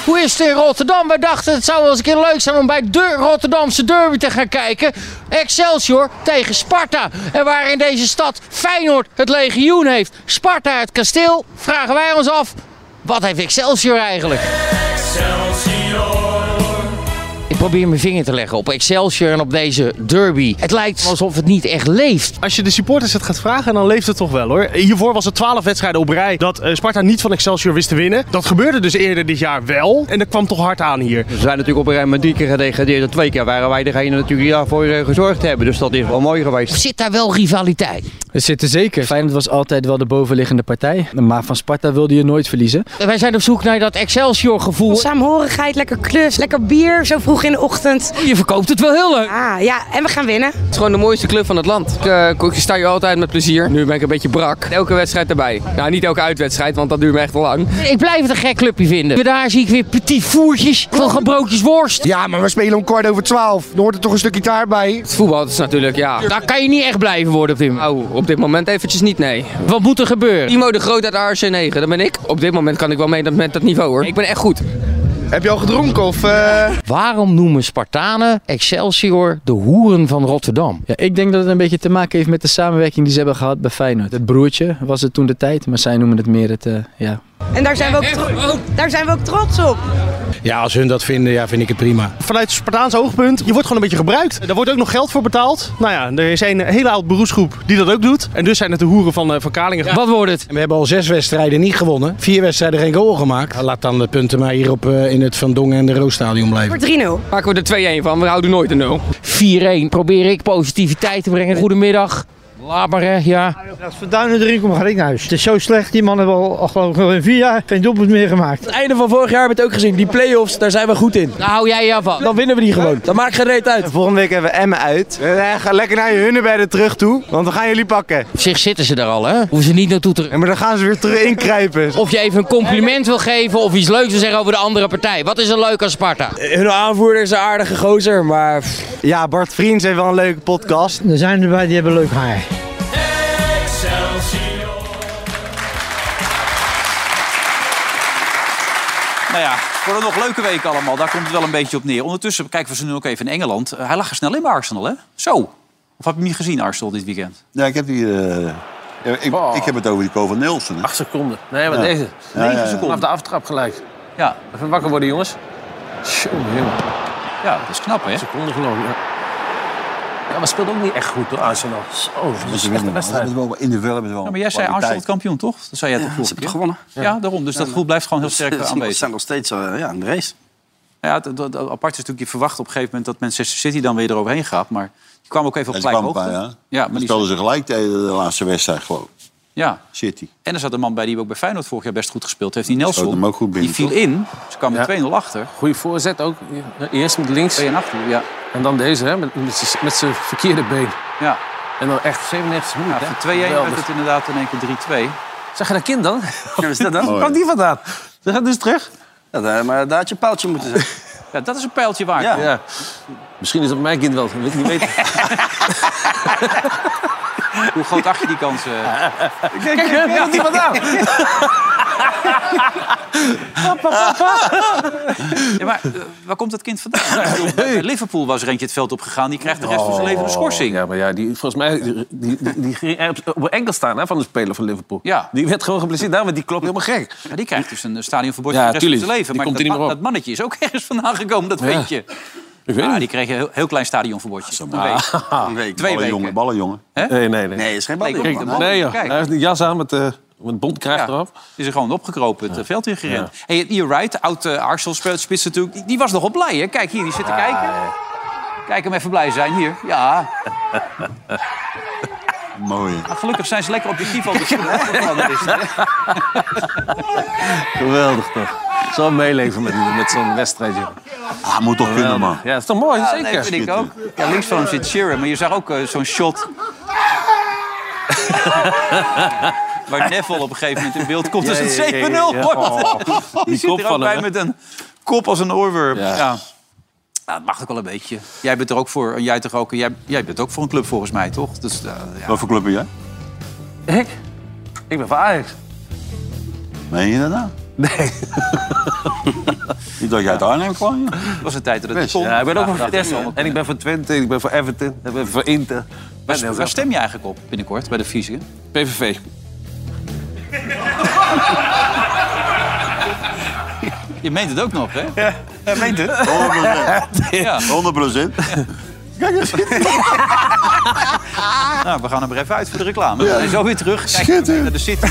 Hoe is het in Rotterdam? Wij dachten het zou wel eens een keer leuk zijn om bij de Rotterdamse derby te gaan kijken. Excelsior tegen Sparta. En waar in deze stad Feyenoord het legioen heeft. Sparta het kasteel. Vragen wij ons af, wat heeft Excelsior eigenlijk? Ik probeer mijn vinger te leggen op Excelsior en op deze derby. Het lijkt alsof het niet echt leeft. Als je de supporters het gaat vragen, dan leeft het toch wel hoor. Hiervoor was het 12 wedstrijden op rij dat eh, Sparta niet van Excelsior wist te winnen. Dat gebeurde dus eerder dit jaar wel. En dat kwam toch hard aan hier. We zijn natuurlijk op een rij met drie keer gedegradeerd. En twee keer waren wij degene natuurlijk die daarvoor eh, gezorgd hebben. Dus dat is wel mooi geweest. Zit daar wel rivaliteit? Het zit er zeker. Feyenoord was altijd wel de bovenliggende partij. Maar van Sparta wilde je nooit verliezen. Wij zijn op zoek naar dat Excelsior gevoel. Saamhorigheid, lekker klus, lekker bier, zo vroeg in de ochtend. Je verkoopt het wel heel leuk. Ah, ja, en we gaan winnen. Het is gewoon de mooiste club van het land. Ik eh, sta hier altijd met plezier. Nu ben ik een beetje brak. Elke wedstrijd erbij. Nou, niet elke uitwedstrijd, want dat duurt me echt te lang. Ik blijf het een gek clubje vinden. Daar zie ik weer petit voertjes, nog broodjes worst. Ja, maar we spelen om kwart over twaalf. Dan hoort er toch een stukje taart bij. Het voetbal is natuurlijk, ja. Daar kan je niet echt blijven worden op dit moment. Nou, op dit moment eventjes niet, nee. Wat moet er gebeuren? Timo de Groot uit ARC 9, dat ben ik. Op dit moment kan ik wel mee dat- met dat niveau hoor. Ik ben echt goed. Heb je al gedronken of... Waarom noemen Spartanen Excelsior de hoeren van Rotterdam? Ja, ik denk dat het een beetje te maken heeft met de samenwerking die ze hebben gehad bij Feyenoord. Het broertje was het toen de tijd, maar zij noemen het meer het, eh, ja, En daar zijn we ook, tro- daar zijn we ook trots op. Ja, als hun dat vinden, ja, vind ik het prima. Vanuit Spartaans oogpunt, je wordt gewoon een beetje gebruikt. Daar wordt ook nog geld voor betaald. Nou ja, er is een hele oud beroepsgroep die dat ook doet. En dus zijn het de hoeren van, eh, van Kalingen. Wat wordt het? We hebben al zes wedstrijden niet gewonnen. Vier wedstrijden geen goal gemaakt. Nou, Laat dan de punten maar hier op, eh, in het Van Dongen en de Roosstadion blijven. Voor 3-0. Pakken we er 2-1 van, we houden nooit een 0. 4-1 probeer ik positiviteit te brengen. Goedemiddag. Laat maar, hè, ja. Als Verduinen erin komt, ga ik naar huis. Het is zo slecht. Die man hebben al, al geloof ik, nog in vier jaar geen doelpunt meer gemaakt. Het einde van vorig jaar hebben we het ook gezien. Die play-offs, daar zijn we goed in. Nou, hou jij je van. Dan winnen we die gewoon. Dat maakt geen reet uit. Volgende week hebben we Emmen uit. Eh, Ga lekker naar je hunnenbedden terug toe, want we gaan jullie pakken. Op zich zitten ze daar al, hè? Hoeven ze niet naartoe te... maar dan gaan ze weer terug inkruipen. Of je even een compliment wil geven of iets leuks wil zeggen over de andere partij. Wat is er leuk aan Sparta? Hun aanvoerder is een aardige gozer, maar... Ja, Bart Vriends heeft wel een leuke podcast. Er zijn erbij die hebben leuk haar. Nou ja, voor een nog leuke week allemaal. Daar komt het wel een beetje op neer. Ondertussen kijken we ze nu ook even in Engeland. Eh, hij lag er snel in bij Arsenal, hè? Zo. Of heb je hem niet gezien, Arsenal, dit weekend? Ja, ik heb die... eh, ja, ik, ik heb het over die Ko van Nelson. Hè. Acht seconden. Nee, wat Ja. deze? Ja, ja, ja. Vanaf de aftrap gelijk. Ja. Even wakker worden, jongens. Tjonge, jongen. Ja, dat is knap, hè? Seconden geloof ik, ja. Ja, maar speelt ook niet echt goed door Arsenal. Zo, dat is Ze winnen wel. echt een Ze wedstrijd. hebben wel individueel hebben ze wel Ja, maar jij zei kwaliteit. Arsenal het kampioen, toch? Dat zei jij toch vorige keer? gewonnen. Ja, daarom. Dus dat gevoel blijft gewoon heel sterk ze- ze aanwezig. zijn nog steeds eh, ja, in de race. Ja, het, het- het apart is natuurlijk, je verwacht op een gegeven moment dat Manchester City dan weer eroverheen gaat. Maar die kwam ook even op Ja, ze gelijke kwamen hoogte. bij, hè? ja, maar Dan die- speelden ze gelijk tegen de laatste wedstrijd, geloof ik. ja, City. en er zat een man bij die ook bij Feyenoord vorig jaar best goed gespeeld heeft. Die Schoot Nelson, hem ook goed binnen, die viel toch? in. Ze kwamen met 2-0 achter. Goeie voorzet ook. Eerst met links. 2 en achter, ja. En dan deze, hè, met, met z'n- met zijn verkeerde been. Ja. En dan echt 97 minuten. Ja, hè. van 2-1 werd Geweldig. het inderdaad in één keer 3-2. Zag je dat kind dan? Oh, Ja, is dat dan? Waar kwam die vandaan? Dat gaat dus terug. Ja, daar, maar daar had je een paaltje moeten zijn. Ja, dat is een pijltje waard. Ja. Ja. Misschien is dat mijn kind wel. Dat wil ik niet weten. Hoe groot acht je die kans? eh? Kijk, hè, waar komt die vandaan? Ja, maar eh, waar komt dat kind vandaan? Nou, Ik bedoel, bij Liverpool was er eentje het veld op gegaan. Die krijgt de rest van zijn leven een Oh, schorsing. Ja, maar ja, die, volgens mij die, die, die ging ergens op een enkel staan hè, van de speler van Liverpool. Ja. Die werd gewoon geblesseerd, daar, want die klopt helemaal gek. Maar die krijgt dus een stadionverbod Ja, voor de rest van tuurlijk. zijn leven. Die maar komt dat, er niet ma- meer op. dat mannetje is ook ergens vandaan gekomen, dat weet je. Ik weet ah, het. die kreeg een heel, heel klein stadionverbodje. Een week. Een week. Ah, Twee Ballen weken. jongen, ballen jongen. Hè? Nee, nee, nee. Nee, is geen Nee, bal. ik- man. man. Nee, joh. Kijk. Hij heeft een jas aan met, eh met bond krijgt erop. Die is er gewoon opgekropen, het eh, veld ingerend. Hey, Ian Wright, oud eh, Arsenal-spits natuurlijk, die, die was nogal blij. Hè? Kijk hier, die Ah. zit te kijken. Kijk hem even blij zijn, hier. Ja, Mooi. Ah, gelukkig zijn ze lekker objectief over de spelen, hè? Dat wel, dat is het, hè? Geweldig toch? Zo meeleven met, met zo'n wedstrijd. joh. Ah, moet toch kunnen, man. Ja, dat is toch mooi? Ja, zeker. nee, vind ik ook. Ja, links van hem zit Sheeran, maar je zag ook eh, zo'n shot... Waar Neville op een gegeven moment in beeld komt. Dus Ja, het ja, ja, ja, 7-0 ja. wordt. Oh, Die die zit kop er ook van hem, bij hè? met een kop als een oorwurp. Ja. Ja. Nou, dat mag ook wel een beetje. Jij bent er ook voor. En jij, toch ook, en jij, jij bent ook voor een club volgens mij, toch? Dus, eh, ja. Wat voor club ben jij? Ik? Ik ben van Ajax. Meen je dat nou? Nee. Niet dat jij uit Arnhem kwam, ja. Het was een tijd dat het Best. kon. Ja, ik ben ook van dat is eh, Vitesse. allemaal- En ik ben van Twente, ik ben van Everton, ik ben van Inter. Waar, waar stem je eigenlijk op binnenkort bij de verkiezingen? PVV. Je meent het ook nog, hè? Ja, meent het. Ja. 100%. 100 procent. Nou, we gaan hem er even uit voor de reclame. En zo weer terug. Kijk naar de City. Dan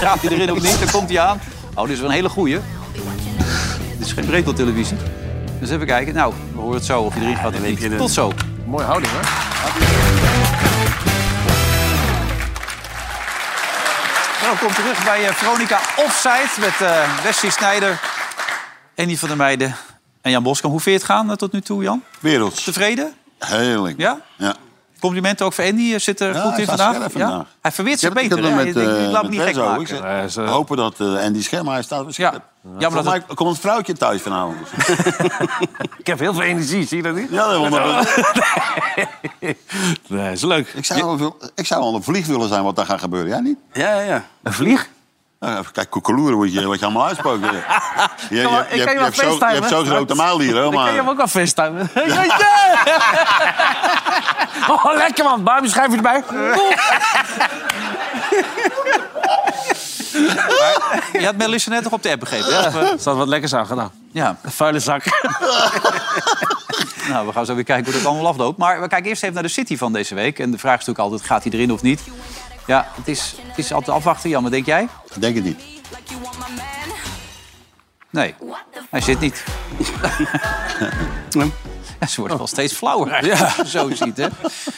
gaat hij erin of niet, dan komt hij aan. Oh, dit is wel een hele goeie. Dit is geen breedteltelevisie. Dus even kijken. Nou, we horen het zo of hij erin gaat of niet. Tot zo. Mooie houding, hoor. Welkom terug bij eh, Veronica Offside met eh Wesley Snijder, Andy van der Meijden en Jan Boskamp. Hoe vind je het gaan eh, tot nu toe, Jan? Werelds. Tevreden? Heerlijk. Ja? Ja. Complimenten ook voor Andy. Je Zit er Ja, goed hij in staat vandaag? scherp Ja? vandaag. Hij verweert zich Ik heb het- ik beter. heb het hè? met, Ik denk, ik eh, laat me met niet gek Renzo ook. maken. Ik zeg, we hopen dat eh, Andy Schermer, hij staat op scherp. Ja. dat Volgens mij komt het vrouwtje thuis vanavond. Ik heb heel veel energie, zie je dat niet? Ja, dat Nee, is leuk. Ik zou, wel wil- ik zou wel een vlieg willen zijn wat daar gaat gebeuren. Jij niet? Ja, ja, ja. Een vlieg? Even kijken, koekeloeren wat je, wat je allemaal uitsproken. Je, je, je, Kom maar, hebt- ik kan je je wel hebt zo- je facetimen. hebt zo'n grote maal hier, hoor. Dan kan je Maar hem ook al facetimen. Oh, lekker man. Barbie, schrijf je erbij. Je had Melissa net nog op de app begrepen. Ja. Of, eh, Ze had wat lekkers aan gedaan. Ja. Vuile zak. nou, we gaan zo weer kijken hoe dat allemaal afloopt. Maar we kijken eerst even naar de City van deze week. En de vraag is natuurlijk altijd, gaat hij erin of niet? Ja, het is, het is altijd afwachten. Jan, wat denk jij? Ik denk het niet. Nee, hij zit niet. Ja, ze worden wel steeds flauwer eigenlijk, als je zo ziet. Hè?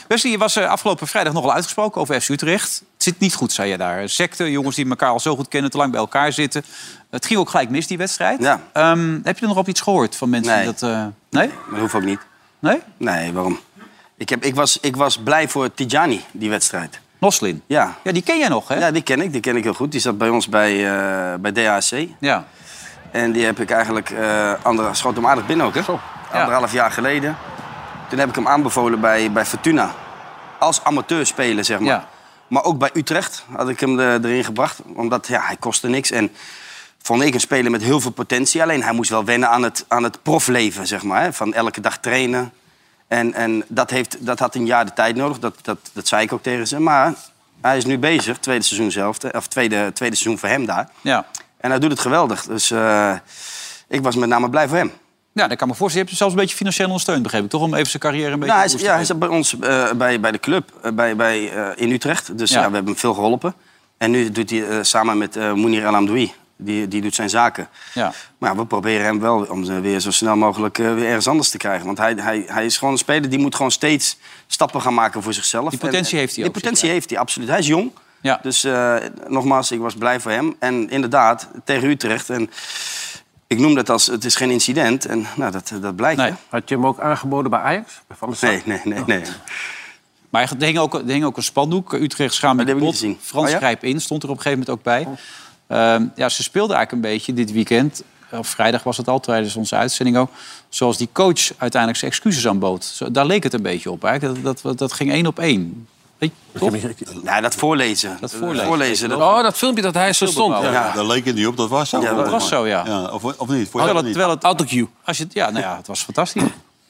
Wesley, je was eh, afgelopen vrijdag nogal uitgesproken over FC Utrecht. Het zit niet goed, zei je daar. Secten, jongens die elkaar al zo goed kennen, te lang bij elkaar zitten. Het ging ook gelijk mis, die wedstrijd. Ehm, heb je er nog op iets gehoord van mensen Nee. die dat... eh, nee? Dat hoeft ook niet. Nee? Nee, waarom? Ik, heb, ik, was, ik was blij voor Tijani, die wedstrijd. Noslin? Ja. Ja, die ken jij nog, hè? Ja, die ken ik. Die ken ik heel goed. Die zat bij ons bij, eh, bij DHC. Ja. En die heb ik eigenlijk... eh ander, schoot hem aardig binnen ook, hè? Anderhalf jaar geleden. Toen heb ik hem aanbevolen bij, bij Fortuna. Als amateur spelen, zeg maar. Maar ook bij Utrecht had ik hem er- erin gebracht. Omdat ja, hij kostte niks. En vond ik een speler met heel veel potentie. Alleen hij moest wel wennen aan het, aan het profleven, zeg maar. Hè? Van elke dag trainen. En, en dat, heeft, dat had een jaar de tijd nodig. Dat, dat, dat zei ik ook tegen ze. Maar hij is nu bezig, tweede seizoen zelf. eh, Of tweede, tweede seizoen voor hem daar. Ja. En hij doet het geweldig. Dus eh, ik was met name blij voor hem. Ja, dat kan me voorstellen. Je hebt hem zelfs een beetje financieel ondersteund, begreep ik, toch? Om even zijn carrière een beetje Nou, hij, is, boost ja, hij zat bij ons eh, bij, bij de club eh, bij, bij, eh, in Utrecht. Dus Ja. ja. we hebben hem veel geholpen. En nu doet hij eh, samen met eh Mounir El Amdoui. Die, die doet zijn zaken. Ja. Maar ja, we proberen hem wel om ze weer zo snel mogelijk eh, weer ergens anders te krijgen. Want hij, hij, hij is gewoon een speler die moet gewoon steeds stappen gaan maken voor zichzelf. Die potentie heeft hij Die ook, zeg potentie heeft hij, absoluut. Hij is jong. Ja. Dus eh, nogmaals, ik was blij voor hem. En inderdaad, tegen Utrecht. En ik noem dat als het is geen incident. En nou, dat, dat blijkt. hè. Had je hem ook aangeboden bij Ajax? Van de Sar? Nee, nee, Oh. nee, nee. Maar er hing ook, er hing ook een spandoek. Utrecht schaam met bot. Frans Oh Grijp in stond er op een gegeven moment ook bij. Ehm, ja, ze speelden eigenlijk een beetje dit weekend. Of vrijdag was het al, tijdens onze uitzending ook. Zoals die coach uiteindelijk zijn excuses aanbood. Zo, daar leek het een beetje op eigenlijk. Dat, dat, dat ging één op één. Weet je, toch? Nou, dat voorlezen. Dat voorlezen. dat... Oh, dat filmpje dat hij zo stond. Ja, Ja. Daar leek het niet op, dat was zo. Ja, dat was zo, ja. of, of niet? Voor Terwijl het, niet? terwijl het, Autocue. Als je, het- ja, nou ja, het was fantastisch.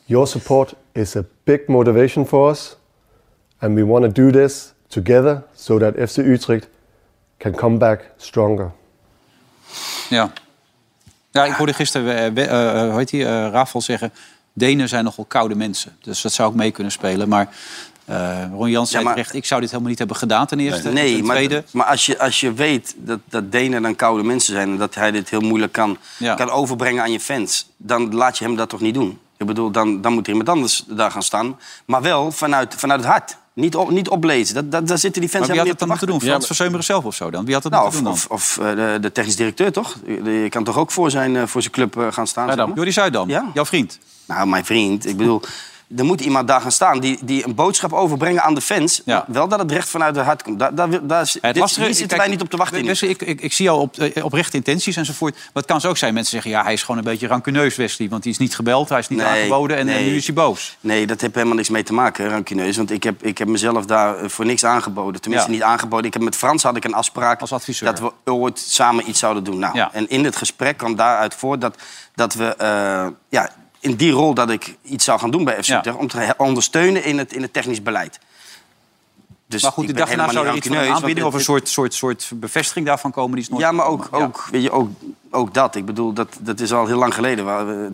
Your support is a big motivation for us, and we want to do this together so that FC Utrecht can come back stronger. Ja. ja, ik hoorde gisteren eh, we- eh, eh, hoe heet die, eh, Rafel zeggen... Denen zijn nogal koude mensen. Dus dat zou ook mee kunnen spelen. Maar eh Ron Jans zei maar- terecht... ik zou dit helemaal niet hebben gedaan ten eerste. Nee, ten maar, tweede. maar als, je, als je weet dat, dat Denen dan koude mensen zijn... en dat hij dit heel moeilijk kan, Ja. kan overbrengen aan je fans... dan laat je hem dat toch niet doen? Ik bedoel, dan, dan moet er iemand anders daar gaan staan. Maar wel vanuit, vanuit het hart. Niet, op, niet oplezen. Dat, dat, daar zitten die fans Maar wie had helemaal het dan niet moeten op te doen? Frans wachten. Verzeumeren zelf of zo dan? Wie had het Nou, moeten doen of, of, of, eh, de, de technisch directeur, toch? Je kan toch ook voor zijn, eh, voor zijn club eh, gaan staan? dan? Jordi Zuidam, jouw vriend. Eh, Nou, mijn vriend. Ik bedoel, er moet iemand daar gaan staan die, die een boodschap overbrengen aan de fans. Wel dat het recht vanuit het hart komt. Daar, daar, daar, is- Het dit- lastige- hier zitten kijk, wij niet op te wachten. in. Wesley, Ik, ik, ik zie jou op, eh, oprechte intenties enzovoort. Maar het kan zo ook zijn. Mensen zeggen, ja, hij is gewoon een beetje rancuneus, Wesley. Want hij is niet gebeld, hij is niet aangeboden. En, en nu is hij boos. Nee, dat heeft helemaal niks mee te maken, hè, rancuneus. Want ik heb, ik heb mezelf daar eh, voor niks aangeboden. Tenminste, Ja. niet aangeboden. Ik heb, met Frans had ik een afspraak... Dat we ooit samen iets zouden doen. Nou, En in het gesprek kwam daaruit voort dat, dat we... eh, ja, in die rol dat ik iets zou gaan doen bij FC Ja. Utrecht... om te he- ondersteunen in het, in het technisch beleid. Dus maar goed, de ik ben dag daarna helemaal zou er niet iets van een rancuneus, aanbieding... of want een het- soort, soort, soort bevestiging daarvan komen. Die is nooit Ja, maar ook, gekomen. Ja. ook, Weet je, ook, ook dat. Ik bedoel, dat, dat is al heel lang geleden. Waar we-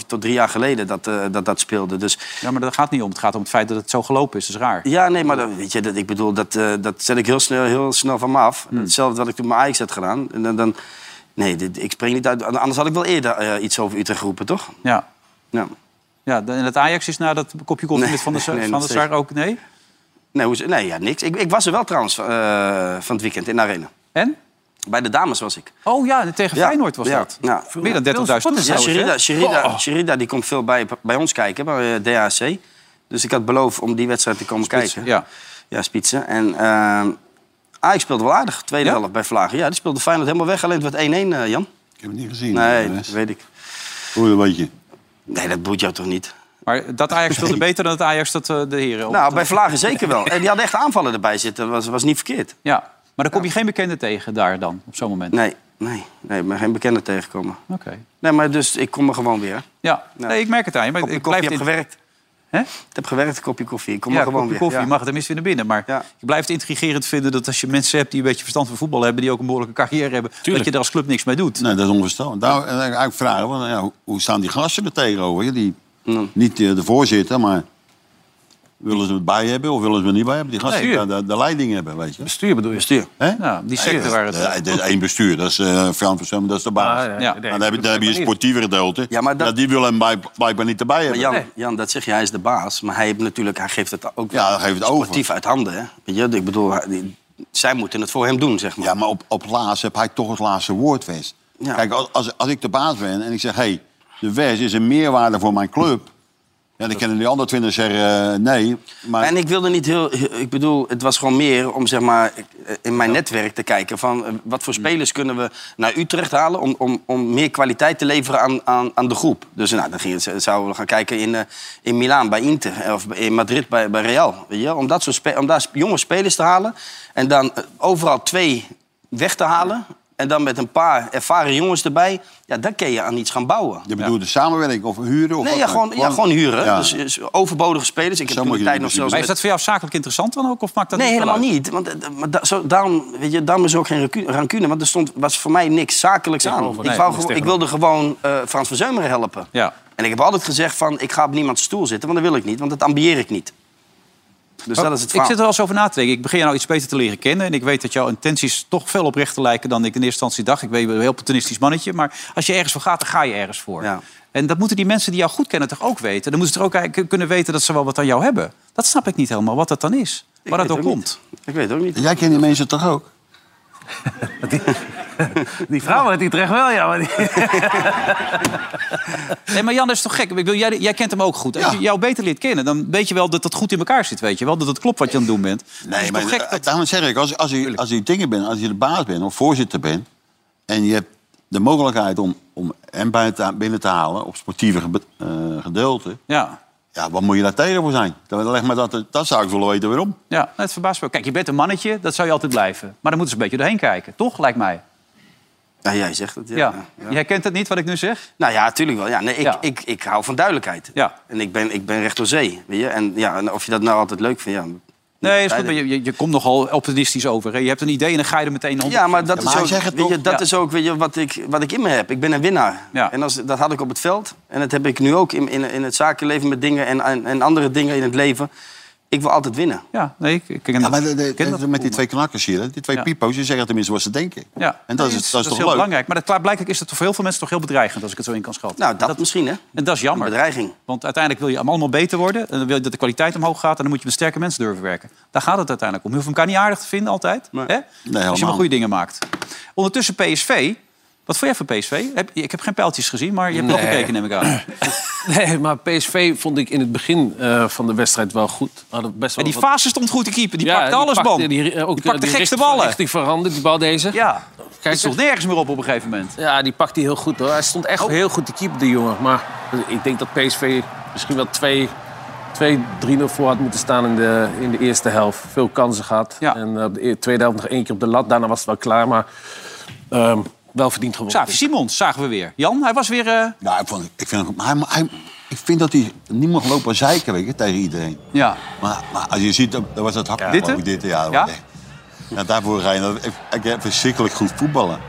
2,5 tot 3 jaar geleden dat eh, dat, dat speelde. Dus Ja, maar dat gaat niet om. Het gaat om het feit dat het zo gelopen is. Dat is raar. Ja, nee, maar dat, weet je, dat, ik bedoel, dat, eh, dat zet ik heel snel, heel snel van me af. Hetzelfde wat ik toen met Ajax had gedaan. En dan, dan, nee, dit, ik spring niet uit. Anders had ik wel eerder eh, iets over Utrecht geroepen, toch? Ja. Ja. Ja, en het Ajax is na dat kopje koffie met Van der Sar, nee, van nog der Sar steeds. ook, nee? Nee, hoe, ze- nee ja, niks. Ik, ik was er wel trouwens eh, van het weekend in de arena. En? Bij de dames was ik. Oh ja, tegen Feyenoord was ja, dat. ja. Meer dan 30.000 toeschouwers, Ja, hè? Sherida, Sherida, Oh. Sherida die komt veel bij, bij ons kijken, bij eh, DHC. Dus ik had beloofd om die wedstrijd te komen kijken. Ja, ja spitsen. En ehm Ajax speelde wel aardig, tweede Ja? helft bij Vlagen. Ja, die speelde Feyenoord helemaal weg. Alleen het werd 1-1, eh, Jan. Ik heb het niet gezien. Nee, jongens. dat weet ik. Hoe dat weet je? Nee, dat boeit jou toch niet? Maar dat Ajax speelde beter dan het Ajax dat eh, de heren... op- Nou, bij Vlagen zeker wel. En die hadden echt aanvallen erbij zitten. Dat was, was niet verkeerd. Ja, maar dan kom je geen bekende tegen daar dan, op zo'n moment. Nee, nee, nee, maar geen bekende tegenkomen. Oké. Nee, maar dus ik kom er gewoon weer. Ja, nee, ik merk het aan je. Maar Op een ik kopje blijf heb dit- gewerkt. Ik heb gewerkt, een kopje koffie. Ik kom ja, maar gewoon kopje weer. koffie, Ja. je mag het tenminste weer naar binnen. Maar ik blijf het intrigerend vinden dat als je mensen hebt die een beetje verstand van voetbal hebben... die ook een behoorlijke carrière hebben, dat je daar als club niks mee doet. Nee, Nou, dat is onverstandig. Daar wil ik eigenlijk vragen, want, nou ja, hoe- hoe staan die gasten er tegenover? hè? Die, Niet eh, de voorzitter, maar willen ze het bij hebben of willen ze het niet bij hebben? Die gasten Nee. die daar de, de leiding hebben, weet je. Bestuur bedoel je? Bestuur. Ja, die sector waar het- Er is één bestuur, dat is eh Frans van Summen, dat is de baas. ja, ja, ja. Maar dan heb je, dan heb je een sportieve gedeelte. Ja, maar dat- die wil hem bij- blijkbaar niet erbij Maar hebben. Jan, Jan, dat zeg je, hij is de baas. Maar hij, heeft natuurlijk, hij geeft het ook Ja, hij geeft het over. sportief uit handen. Hè? Weet je, ik bedoel, hij- die- zij moeten het voor hem doen, zeg maar. Ja, maar op, op laatst heb hij toch het laatste woord, Wes. Kijk, als- als, als ik de baas ben en ik zeg... hé, hey, de Wes is een meerwaarde voor mijn club... Ja, dan kunnen die andere twintig zeggen eh, nee. Maar En ik wilde niet heel... Ik bedoel, het was gewoon meer om zeg maar, in mijn netwerk te kijken... van eh, wat voor spelers kunnen we naar Utrecht halen... om, om, om meer kwaliteit te leveren aan, aan, aan de groep. Dus nou, dan ging het, zouden we gaan kijken in, eh, in Milaan bij Inter... eh, of in Madrid bij, bij Real. Weet je? wel? Om, dat soort spe- om daar sp- jonge spelers te halen... en dan eh, overal twee weg te halen... en dan met een paar ervaren jongens erbij... ja, dan kun je aan iets gaan bouwen. je bedoelt de samenwerking of huren? Of Nee, wat ja dan? gewoon, ja, gewoon huren. Ja. Dus, dus overbodige spelers. Ik heb Zo toen moet de je tijd doen, nog in principe. zelfs... Maar is dat voor jou zakelijk interessant dan ook? Of maakt dat nee, niet veel helemaal uit? niet. Want, eh, maar da- zo, daarom, weet je, daarom is er ook geen racu- rancune. Want er stond, was voor mij niks zakelijks aan. Tegenover, ik, nee, wou, niks gewoon- ik tegenover. wilde gewoon eh, Frans van Zeumeren helpen. Ja. En ik heb altijd gezegd van, ik ga op niemands stoel zitten. Want dat wil ik niet, want dat ambieer ik niet. Dus dat is het Oh, ik verhaal. zit er wel eens over na te denken. Ik begin jou nou iets beter te leren kennen. En ik weet dat jouw intenties toch veel oprechter lijken dan ik in eerste instantie dacht. Ik ben je bent een heel opportunistisch mannetje. Maar als je ergens voor gaat, dan ga je ergens voor. En dat moeten die mensen die jou goed kennen toch ook weten. Dan moeten ze toch ook eigenlijk kunnen weten dat ze wel wat aan jou hebben. Dat snap ik niet helemaal, wat dat dan is. Waar dat weet door ook komt. Ik weet ook niet. Jij kent die mensen toch ook? Die vrouw uit Utrecht wel, ja. Maar die... Nee, maar Jan dat is toch gek? Ik bedoel, jij, jij kent hem ook goed. Als je jou beter leert kennen, dan weet je wel dat dat goed in elkaar zit. Weet je wel dat het klopt wat je aan het doen bent. Dat is Nee, toch gek maar eh, daarom zeg ik, als, als, je, als je dingen bent, als je de baas bent of voorzitter bent... en je hebt de mogelijkheid om, om hem bij te- binnen te halen op sportieve gebe- eh, gedeelte... Ja. ja, wat moet je daar tegen voor zijn? Dan leg maar dat, dat zou ik willen weten waarom. Ja, het verbaast me ook. Kijk, je bent een mannetje, dat zou je altijd blijven. Maar dan moeten ze een beetje doorheen kijken, toch? Lijkt mij. Nou, jij zegt het, Ja. ja. Jij kent het niet, wat ik nu zeg? Nou ja, natuurlijk wel. Ja, nee, ik, Ja. Ik, ik hou van duidelijkheid. Ja. En ik ben, ik ben recht door zee. Weet je? En, ja, en of je dat nou altijd leuk vindt, ja. Nee, is goed, maar je, je, je komt nogal optimistisch over. Hè? Je hebt een idee en dan ga je er meteen op. Ja, maar dat is ook, weet je, dat Ja. is ook weet je, wat, ik, wat ik in me heb. Ik ben een winnaar. En als, dat had ik op het veld. En dat heb ik nu ook in, in, in het zakenleven met dingen en, en, en andere dingen in het leven. Ik wil altijd winnen. Ja, nee, ik, ik ken Ja, maar de- de- de- met die twee knakkers hier, hè, die twee Ja. pipo's... die zeggen tenminste wat ze denken. Ja. En dat is- Nee, dat is toch heel leuk? belangrijk. Maar dat, blijkbaar is dat voor heel veel mensen toch heel bedreigend... als ik het zo in kan schatten. Nou, dat, misschien, hè? En dat is jammer. bedreiging. Want uiteindelijk wil je allemaal beter worden. En dan wil je dat de kwaliteit omhoog gaat. En dan moet je met sterke mensen durven werken. Daar gaat het uiteindelijk om. Je hoeft elkaar niet aardig te vinden altijd. Hè? als je helemaal maar niet. goede dingen maakt. Ondertussen PSV. Wat vond jij van PSV? Heb, ik heb geen pijltjes gezien, maar je hebt wel Nee. gekeken, neem ik aan. Nee, maar PSV vond ik in het begin eh, van de wedstrijd wel goed. We Hadden best wel En die wat- fase stond goed te keeper. Die Ja, pakte alles, pakte- man. Die, Die, eh, ook, pakte de eh, die gekste richt- ballen. richting veranderd, die bal deze. Ja, Kijk, het stond nergens meer op op een gegeven moment. Ja, die pakt hij heel goed hoor. Hij stond echt Oh. heel goed te keeper, die jongen. Maar ik denk dat PSV misschien wel 2 3-0 voor had moeten staan in de, in de eerste helft. Veel kansen gehad. En eh, op de e- tweede helft nog één keer op de lat. Daarna was het wel klaar, maar ehm, wel verdiend gewonnen. Xavi Simons zagen we weer. Jan, hij was weer... eh, Ja, Nou, ik, vond, ik, vind, hem- maar hij, hij- ik vind dat hij niet mag lopen zeiken weet je, tegen iedereen. Ja. Maar, maar als je ziet, dat dat was het hakje. Dit, hè? geloof ik, dit ja, dat Ja? was echt- ja, daarvoor ga je naar- ik- ik heb verschrikkelijk goed voetballen.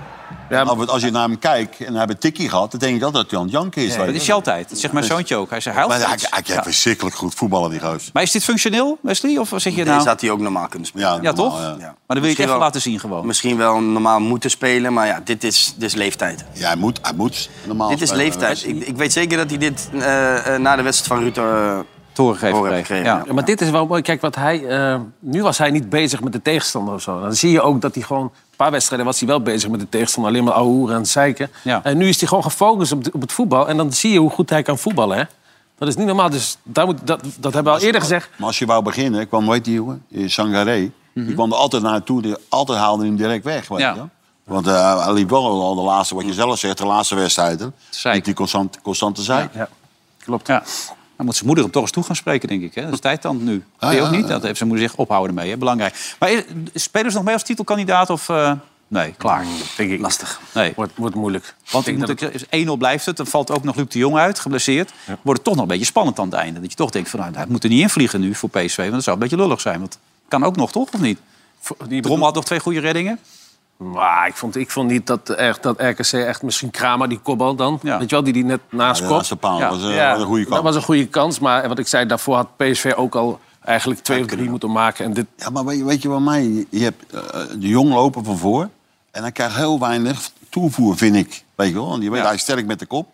Maar Als je naar hem kijkt en hij heeft een tikkie gehad, dan denk ik altijd dat hij aan het janken is. Nee, weet dat je. is je altijd. Dat zegt mijn Dus- zoontje ook. Hij zei, huilt Maar hij, iets. hij, hij kan Ja. verschrikkelijk goed voetballen, die gozer. Maar is dit functioneel, Wesley? Of zeg je nou... Deze had hij ook normaal kunnen spelen. Ja, toch? Maar dan wil je het echt wel- laten zien gewoon. Misschien wel normaal moeten spelen, maar ja, dit is, dit is leeftijd. Ja, hij moet, hij moet normaal Dit is spelen, leeftijd. weet je. Ik, ik weet zeker dat hij dit eh, eh, na de wedstrijd van Ruud... eh, Toren geven horen heeft gekregen, gekregen, Ja. maar dit is wel mooi. Kijk, wat hij, eh, nu was hij niet bezig met de tegenstander of zo. Dan zie je ook dat hij gewoon... Een paar wedstrijden was hij wel bezig met de tegenstander. Alleen maar ouwe en zeiken. En nu is hij gewoon gefocust op, de- op het voetbal. En dan zie je hoe goed hij kan voetballen, hè. Dat is niet normaal. Dus daar moet, dat, dat hebben we al eerder gezegd. Maar als je wou beginnen, kwam, weet die jongen, eh, Sangaré. Mhm. Die kwam er altijd naartoe, die, altijd haalde hij hem direct weg. Weet Ja. je? wel. Want eh, hij liep wel al de laatste, wat je Mhm. zelf zegt, de laatste wedstrijden. Liep die constant, constante zeik. Ja, Klopt. Ja. Dan moet zijn moeder hem toch eens toe gaan spreken, denk ik. Hè? Dat is tijd dan nu. Ah, Vind je ja, ook niet? ja. Dat heeft zijn moeder zich ophouden mee. Hè? Belangrijk. Maar is- spelen ze nog mee als titelkandidaat? Of, eh, Nee, klaar. Denk ik. Lastig. Nee. Wordt, wordt moeilijk. Want Ik moet denk ik zeggen, 1-0 blijft het. Dan valt ook nog Luc de Jong uit, geblesseerd. Wordt het toch nog een beetje spannend aan het einde. Dat je toch denkt, van, nou, hij moet er niet in vliegen nu voor PSV. Want dat zou een beetje lullig zijn. Want kan ook nog, toch? Of niet? Die Brom had nog twee goede reddingen. Maar ik vond, ik vond niet dat, eh, echt, dat RKC echt misschien Kramer, die kopbal dan. Weet je wel, die die net naast Ja, kop. de laatste paal was, eh, was een goede kans. Dat was een goede kans, maar wat ik zei, daarvoor had PSV ook al eigenlijk twee of drie moeten maken. En dit... Ja, maar weet, weet je wat mij... Je hebt eh, de jong lopen van voor. En hij krijgt heel weinig toevoer, vind ik. Weet je wel? Want je weet, hij is sterk met de kop.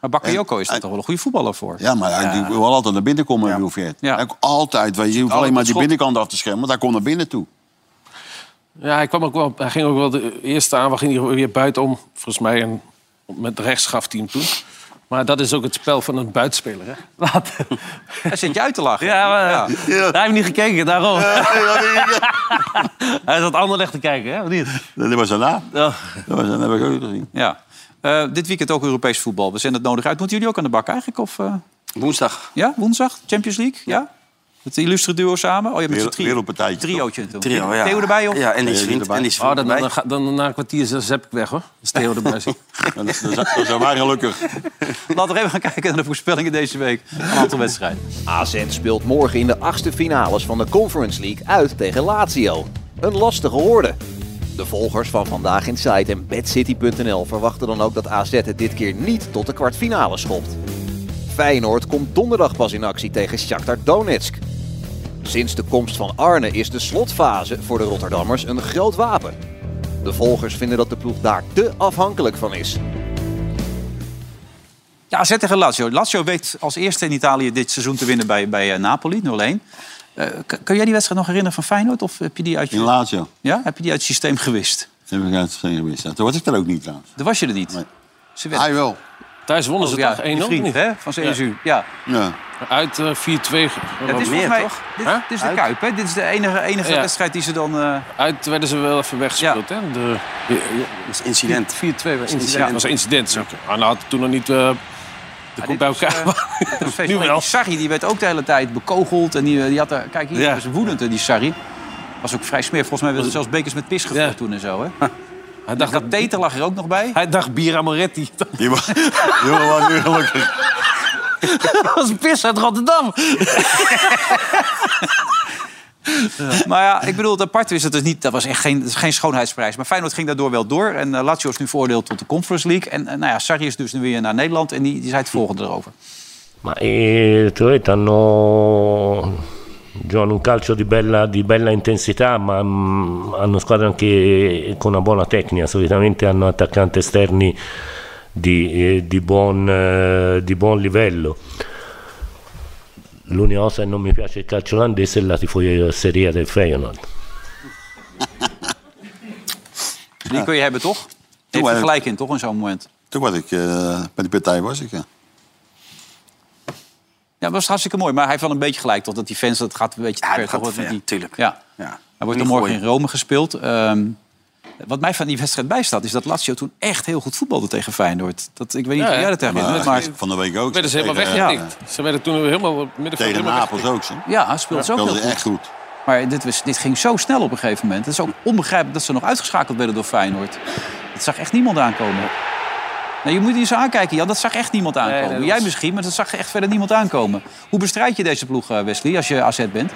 Maar Bakayoko is daar toch wel een goede voetballer voor. Ja, maar hij die wil altijd naar binnen komen, Wilfred. Hij komt Altijd, weet je, je hoeft alleen altijd maar die schot. binnenkant af te schermen. Want hij komt naar binnen toe. Ja, hij, kwam ook wel, hij ging ook wel de eerste aan, we gingen weer buitenom. Volgens mij en met rechts gaf hij hem toen. Maar dat is ook het spel van een buitenspeler, hè? Nou, Later. Daar zit je uit te lachen. Ja, maar daar heb je niet gekeken, daarom. hij zat anderleg te kijken, hè? Of niet? Dat was daarna. Ja. Dat, was, dat heb ik ook gezien. Ja. Eh, dit weekend ook Europees voetbal. We zenden het nodig uit. Moeten jullie ook aan de bak eigenlijk? Of, eh? Woensdag. Ja, woensdag. Champions League, ja? Het illustre duo samen. Oh, je Weer- hebt weer een op een trio. tijdje, Triootje. toch? Trio, ja. Theo erbij, of? Ja, en die is vriend. En die is Oh, vriend dan, erbij. dan, ga- dan, na een kwartier zes heb ik weg, hoor. Is Theo erbij zit. Dat zijn wij gelukkig. Laten we even gaan kijken naar de voorspellingen deze week. Een aantal wedstrijden. AZ speelt morgen in de achtste finales van de Conference League uit tegen Lazio. Een lastige hoorde. De volgers van Vandaag in Site en BadCity.nl verwachten dan ook dat AZ het dit keer niet tot de kwartfinale schopt. Feyenoord komt donderdag pas in actie tegen Shakhtar Donetsk. Sinds de komst van Arne is de slotfase voor de Rotterdammers een groot wapen. De volgers vinden dat de ploeg daar te afhankelijk van is. Ja, zet tegen Lazio. Lazio weet als eerste in Italië dit seizoen te winnen bij, bij eh, Napoli, 0-1. Eh, k- kun jij die wedstrijd nog herinneren van Feyenoord? Of heb je die uit je... In Lazio. Ja, heb je die uit het systeem gewist? Dat heb ik uit het systeem gewist. Dat was ik er ook niet, trouwens. Daar was je er niet. Ze werd- Hij wel. Thuis wonnen ze Oh, ja, toch je 1-0? vriend, niet? hè, van CSU. Ja. Ja. Uit eh, 4-2. Ja, dit is volgens mij, dit, dit is de Kuip, hè? Dit is de enige, enige Ja. wedstrijd die ze dan... eh, Uit werden ze wel even weggespeeld, hè? De, dat is incident. 4-2. was Incident. Ah, incident. Ja, dat was een incident. zeker. Arne had toen nog niet... eh dat komt bij elkaar. nu wel. Sarri die werd ook de hele tijd bekogeld. En die, eh, die had er, kijk, hier Ja. was woedend, hè, die Sarri. Was ook vrij smerig. Volgens mij werden er zelfs bekers met pis gegooid toen en zo. Hè? Hij dacht dat Teter lag er ook nog bij. Hij dacht Bira Moretti. Die was, die was nu gelukkig. dat was pis uit Rotterdam. Maar ja, ik bedoel, het aparte is dat het niet, dat was echt geen, dat is geen schoonheidsprijs. Maar Feyenoord ging daardoor wel door. En eh, Lazio is nu veroordeeld tot de Conference League. En eh, nou ja, Sarri is dus nu weer naar Nederland. En die, die zei het volgende erover. Ma eh, te l'ho detto, hanno giocano un calcio di bella, di bella intensità, ma mm, hanno squadre anche con una buona tecnica. Solitamente hanno attaccanti esterni di, eh, di buon, eh, di buon livello. L'unica cosa che non mi piace del calcio olandese è la tifoseria eh, del Feyenoord. Die kun je hebben, toch? Heeft waren- er gelijk in, toch, in zo'n moment? Toen was ik, eh, bij die partij was ik, ja. Ja, dat was hartstikke mooi. Maar hij heeft wel een beetje gelijk, toch? Dat die fans, dat gaat een beetje te ver. toch? Wat met die- Ja. Hij wordt er Niet morgen gooien. in Rome gespeeld. Ehm, wat mij van die wedstrijd bijstaat, is dat Lazio toen echt heel goed voetbalde tegen Feyenoord. Dat, ik weet niet Ja, of jij hè? dat herinnert, Maar- maar... Van de week ook. eh, werden ze helemaal Tegen, weggetikt. Ze werden toen helemaal op het midden Tegen van het helemaal Napels weggetikt. ook, zo. Ja, hij speelt zo Dat heel is goed. echt goed. Maar dit, was, dit ging zo snel op een gegeven moment. Het is ook onbegrijpelijk dat ze nog uitgeschakeld werden door Feyenoord. Dat zag echt niemand aankomen. Nou, je moet niet zo aankijken, Jan. Dat zag echt niemand aankomen. nee, dat Jij was- misschien, maar dat zag echt verder niemand aankomen. Hoe bestrijd je deze ploeg, eh, Wesley, als je AZ bent?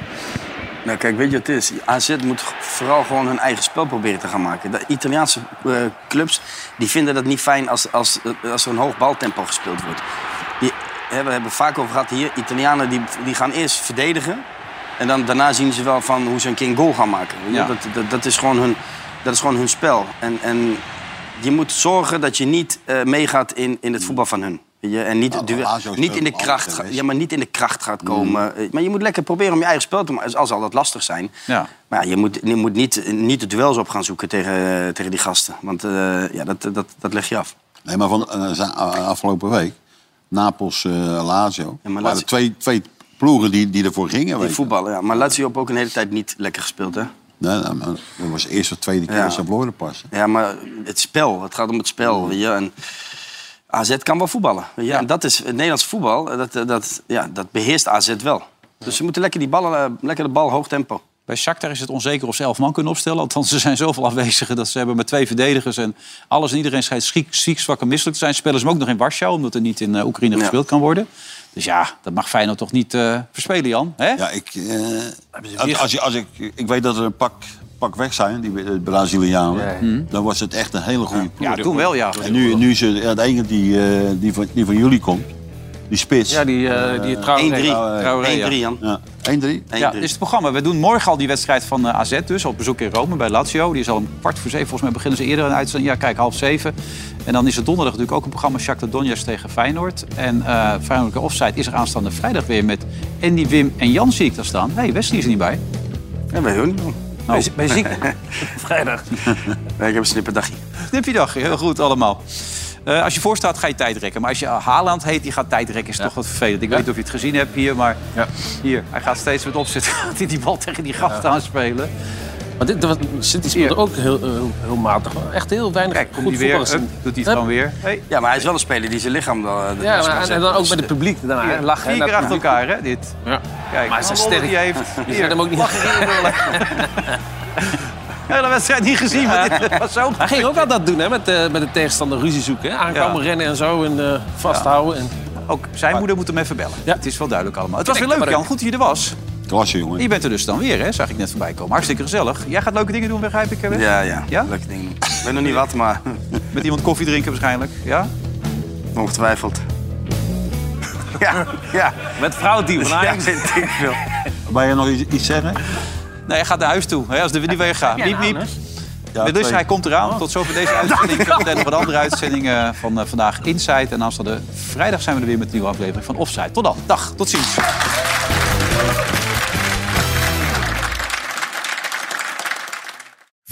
Nou, kijk, weet je wat het is? AZ moet g- vooral gewoon hun eigen spel proberen te gaan maken. De Italiaanse eh, clubs die vinden dat niet fijn als, als, eh, als er een hoog baltempo gespeeld wordt. Die, hè, we hebben het vaak over gehad hier. Italianen die, die gaan eerst verdedigen. En dan, daarna zien ze wel van hoe ze een king goal gaan maken. Weet je? Ja. Dat, dat, dat, is gewoon hun, dat is gewoon hun spel. En, en je moet zorgen dat je niet eh, meegaat in, in het voetbal van hun. Weet je? En niet, Nou, duel- Lazio is niet in de ook kracht anders gaat. geweest. Ja, maar niet in de kracht gaat Mm. komen. Eh, Maar je moet lekker proberen om je eigen spel te maken. Al zal dat lastig zijn. Ja. Maar ja, je moet, je moet niet, niet de duels op gaan zoeken tegen, tegen die gasten. Want eh, ja, dat, dat, dat leg je af. Nee, maar van eh, za- eh, afgelopen week, Napels, eh Lazio, waren Lazio- er twee, twee ploegen die, die ervoor gingen. Die weet je. voetballen, ja. Maar Lazio heeft ook een hele tijd niet lekker gespeeld, hè? Nee, nee, maar dat was de eerste of tweede keer Ja. dat ze verloren pas. Ja, maar het spel. Het gaat om het Mm. spel. weet je. En AZ kan wel voetballen. weet je. En dat is, het Nederlands voetbal, eh, dat, eh, dat, ja, dat beheerst AZ wel. Dus ze moeten lekker, die ballen, eh, lekker de bal hoog tempo. Bij Shakhtar is het onzeker of ze elf man kunnen opstellen. Althans, er zijn zoveel afwezigen dat ze hebben met twee verdedigers. En alles en iedereen schijnt ziek, ziek, zwak en misselijk te zijn. Spelen ze hem ook nog in Warschau, omdat er niet in eh, Oekraïne gespeeld kan worden. Dus ja, dat mag Feyenoord toch niet eh, verspelen, Jan? Hè? Ja, ik, eh, als, als, je- als ik, ik weet dat er een pak, pak weg zijn, die eh, Brazilianen. Dan was het echt een hele goede ploeg. Ja, toen wel, ja. En nu, nu is het ja, de enige die, eh, die, van, die van jullie komt. Die spits. Ja, die, eh, die Traoré. 1-3. Traoré, ja. 1-3, Jan. Ja. 1-3. Ja, dit is het programma. We doen morgen al die wedstrijd van eh, AZ dus, op bezoek in Rome bij Lazio. Die is al om kwart voor zeven. Volgens mij beginnen ze eerder een uitzending. Ja, kijk, half zeven. En dan is het donderdag natuurlijk ook een programma Shakhtar Donetsk tegen Feyenoord. En eh Feyenoord Offside is er aanstaande vrijdag weer met Andy, Wim en Jan zie ik daar staan. Nee, Wesley is er niet bij. Ja, bij hun. Oh. Ben je ziek? Vrijdag. Nee, ik heb een snipperdagje. Snippiedag, heel goed allemaal. Eh, als je voor staat, ga je tijd rekken. Maar als je eh, Haaland heet, die gaat tijd rekken. Is toch wat vervelend. Ik weet niet of je het gezien hebt hier, maar hier. Hij gaat steeds met opzet. Gaat hij die bal tegen die gasten aanspelen. Maar dit, wat, City speelde ook heel, eh, heel, heel matig. Echt heel weinig Kijk, komt goed hij weer. voetballers. Up, doet hij het gewoon weer. Ja, maar hij is wel eh, een speler die zijn lichaam... dan. Ja, maar, en, en dan ook bij Dus, het publiek daarna. hè, Hier, lachen. vier hè, keer dat- achter elkaar, hè, dit. Ja. Kijk, maar hij alle rollen is sterk. die hij heeft. Je Hier, gaat hem ook niet... lachen hier in de rollen. Hele wedstrijd niet gezien, maar dit was zo... Hij ging ook altijd dat doen, hè, met, eh, met de tegenstander ruzie zoeken. hè. Aankomen, rennen en zo, en eh, vasthouden. En... Ook zijn moeder moet hem even bellen. Het is wel duidelijk allemaal. Het was weer leuk, Jan. Goed dat je er was. Klasse, jongen. Je bent er dus dan weer, hè? Zag ik net voorbij komen. Hartstikke gezellig. Jij gaat leuke dingen doen, begrijp ik. hè, Wes? eh, Ja, ja, leuke dingen. Ik weet nog niet wat, maar... Met iemand koffie drinken waarschijnlijk, ja? Ongetwijfeld. Ja, ja. Met vrouwteam Ja, ik denk wel. Wil je nog iets, iets zeggen? Nee, hij gaat naar huis toe. Hè, als de wind niet weggaat. Heb jij Miep, miep. nou, Ja, dus twee. hij komt eraan. Oh. Tot zover deze uitzending. Zometeen nog een andere uitzending eh, van eh, vandaag Inside. En aanstaande vrijdag zijn we er weer met een nieuwe aflevering van Offside. Tot dan. Dag. Tot ziens.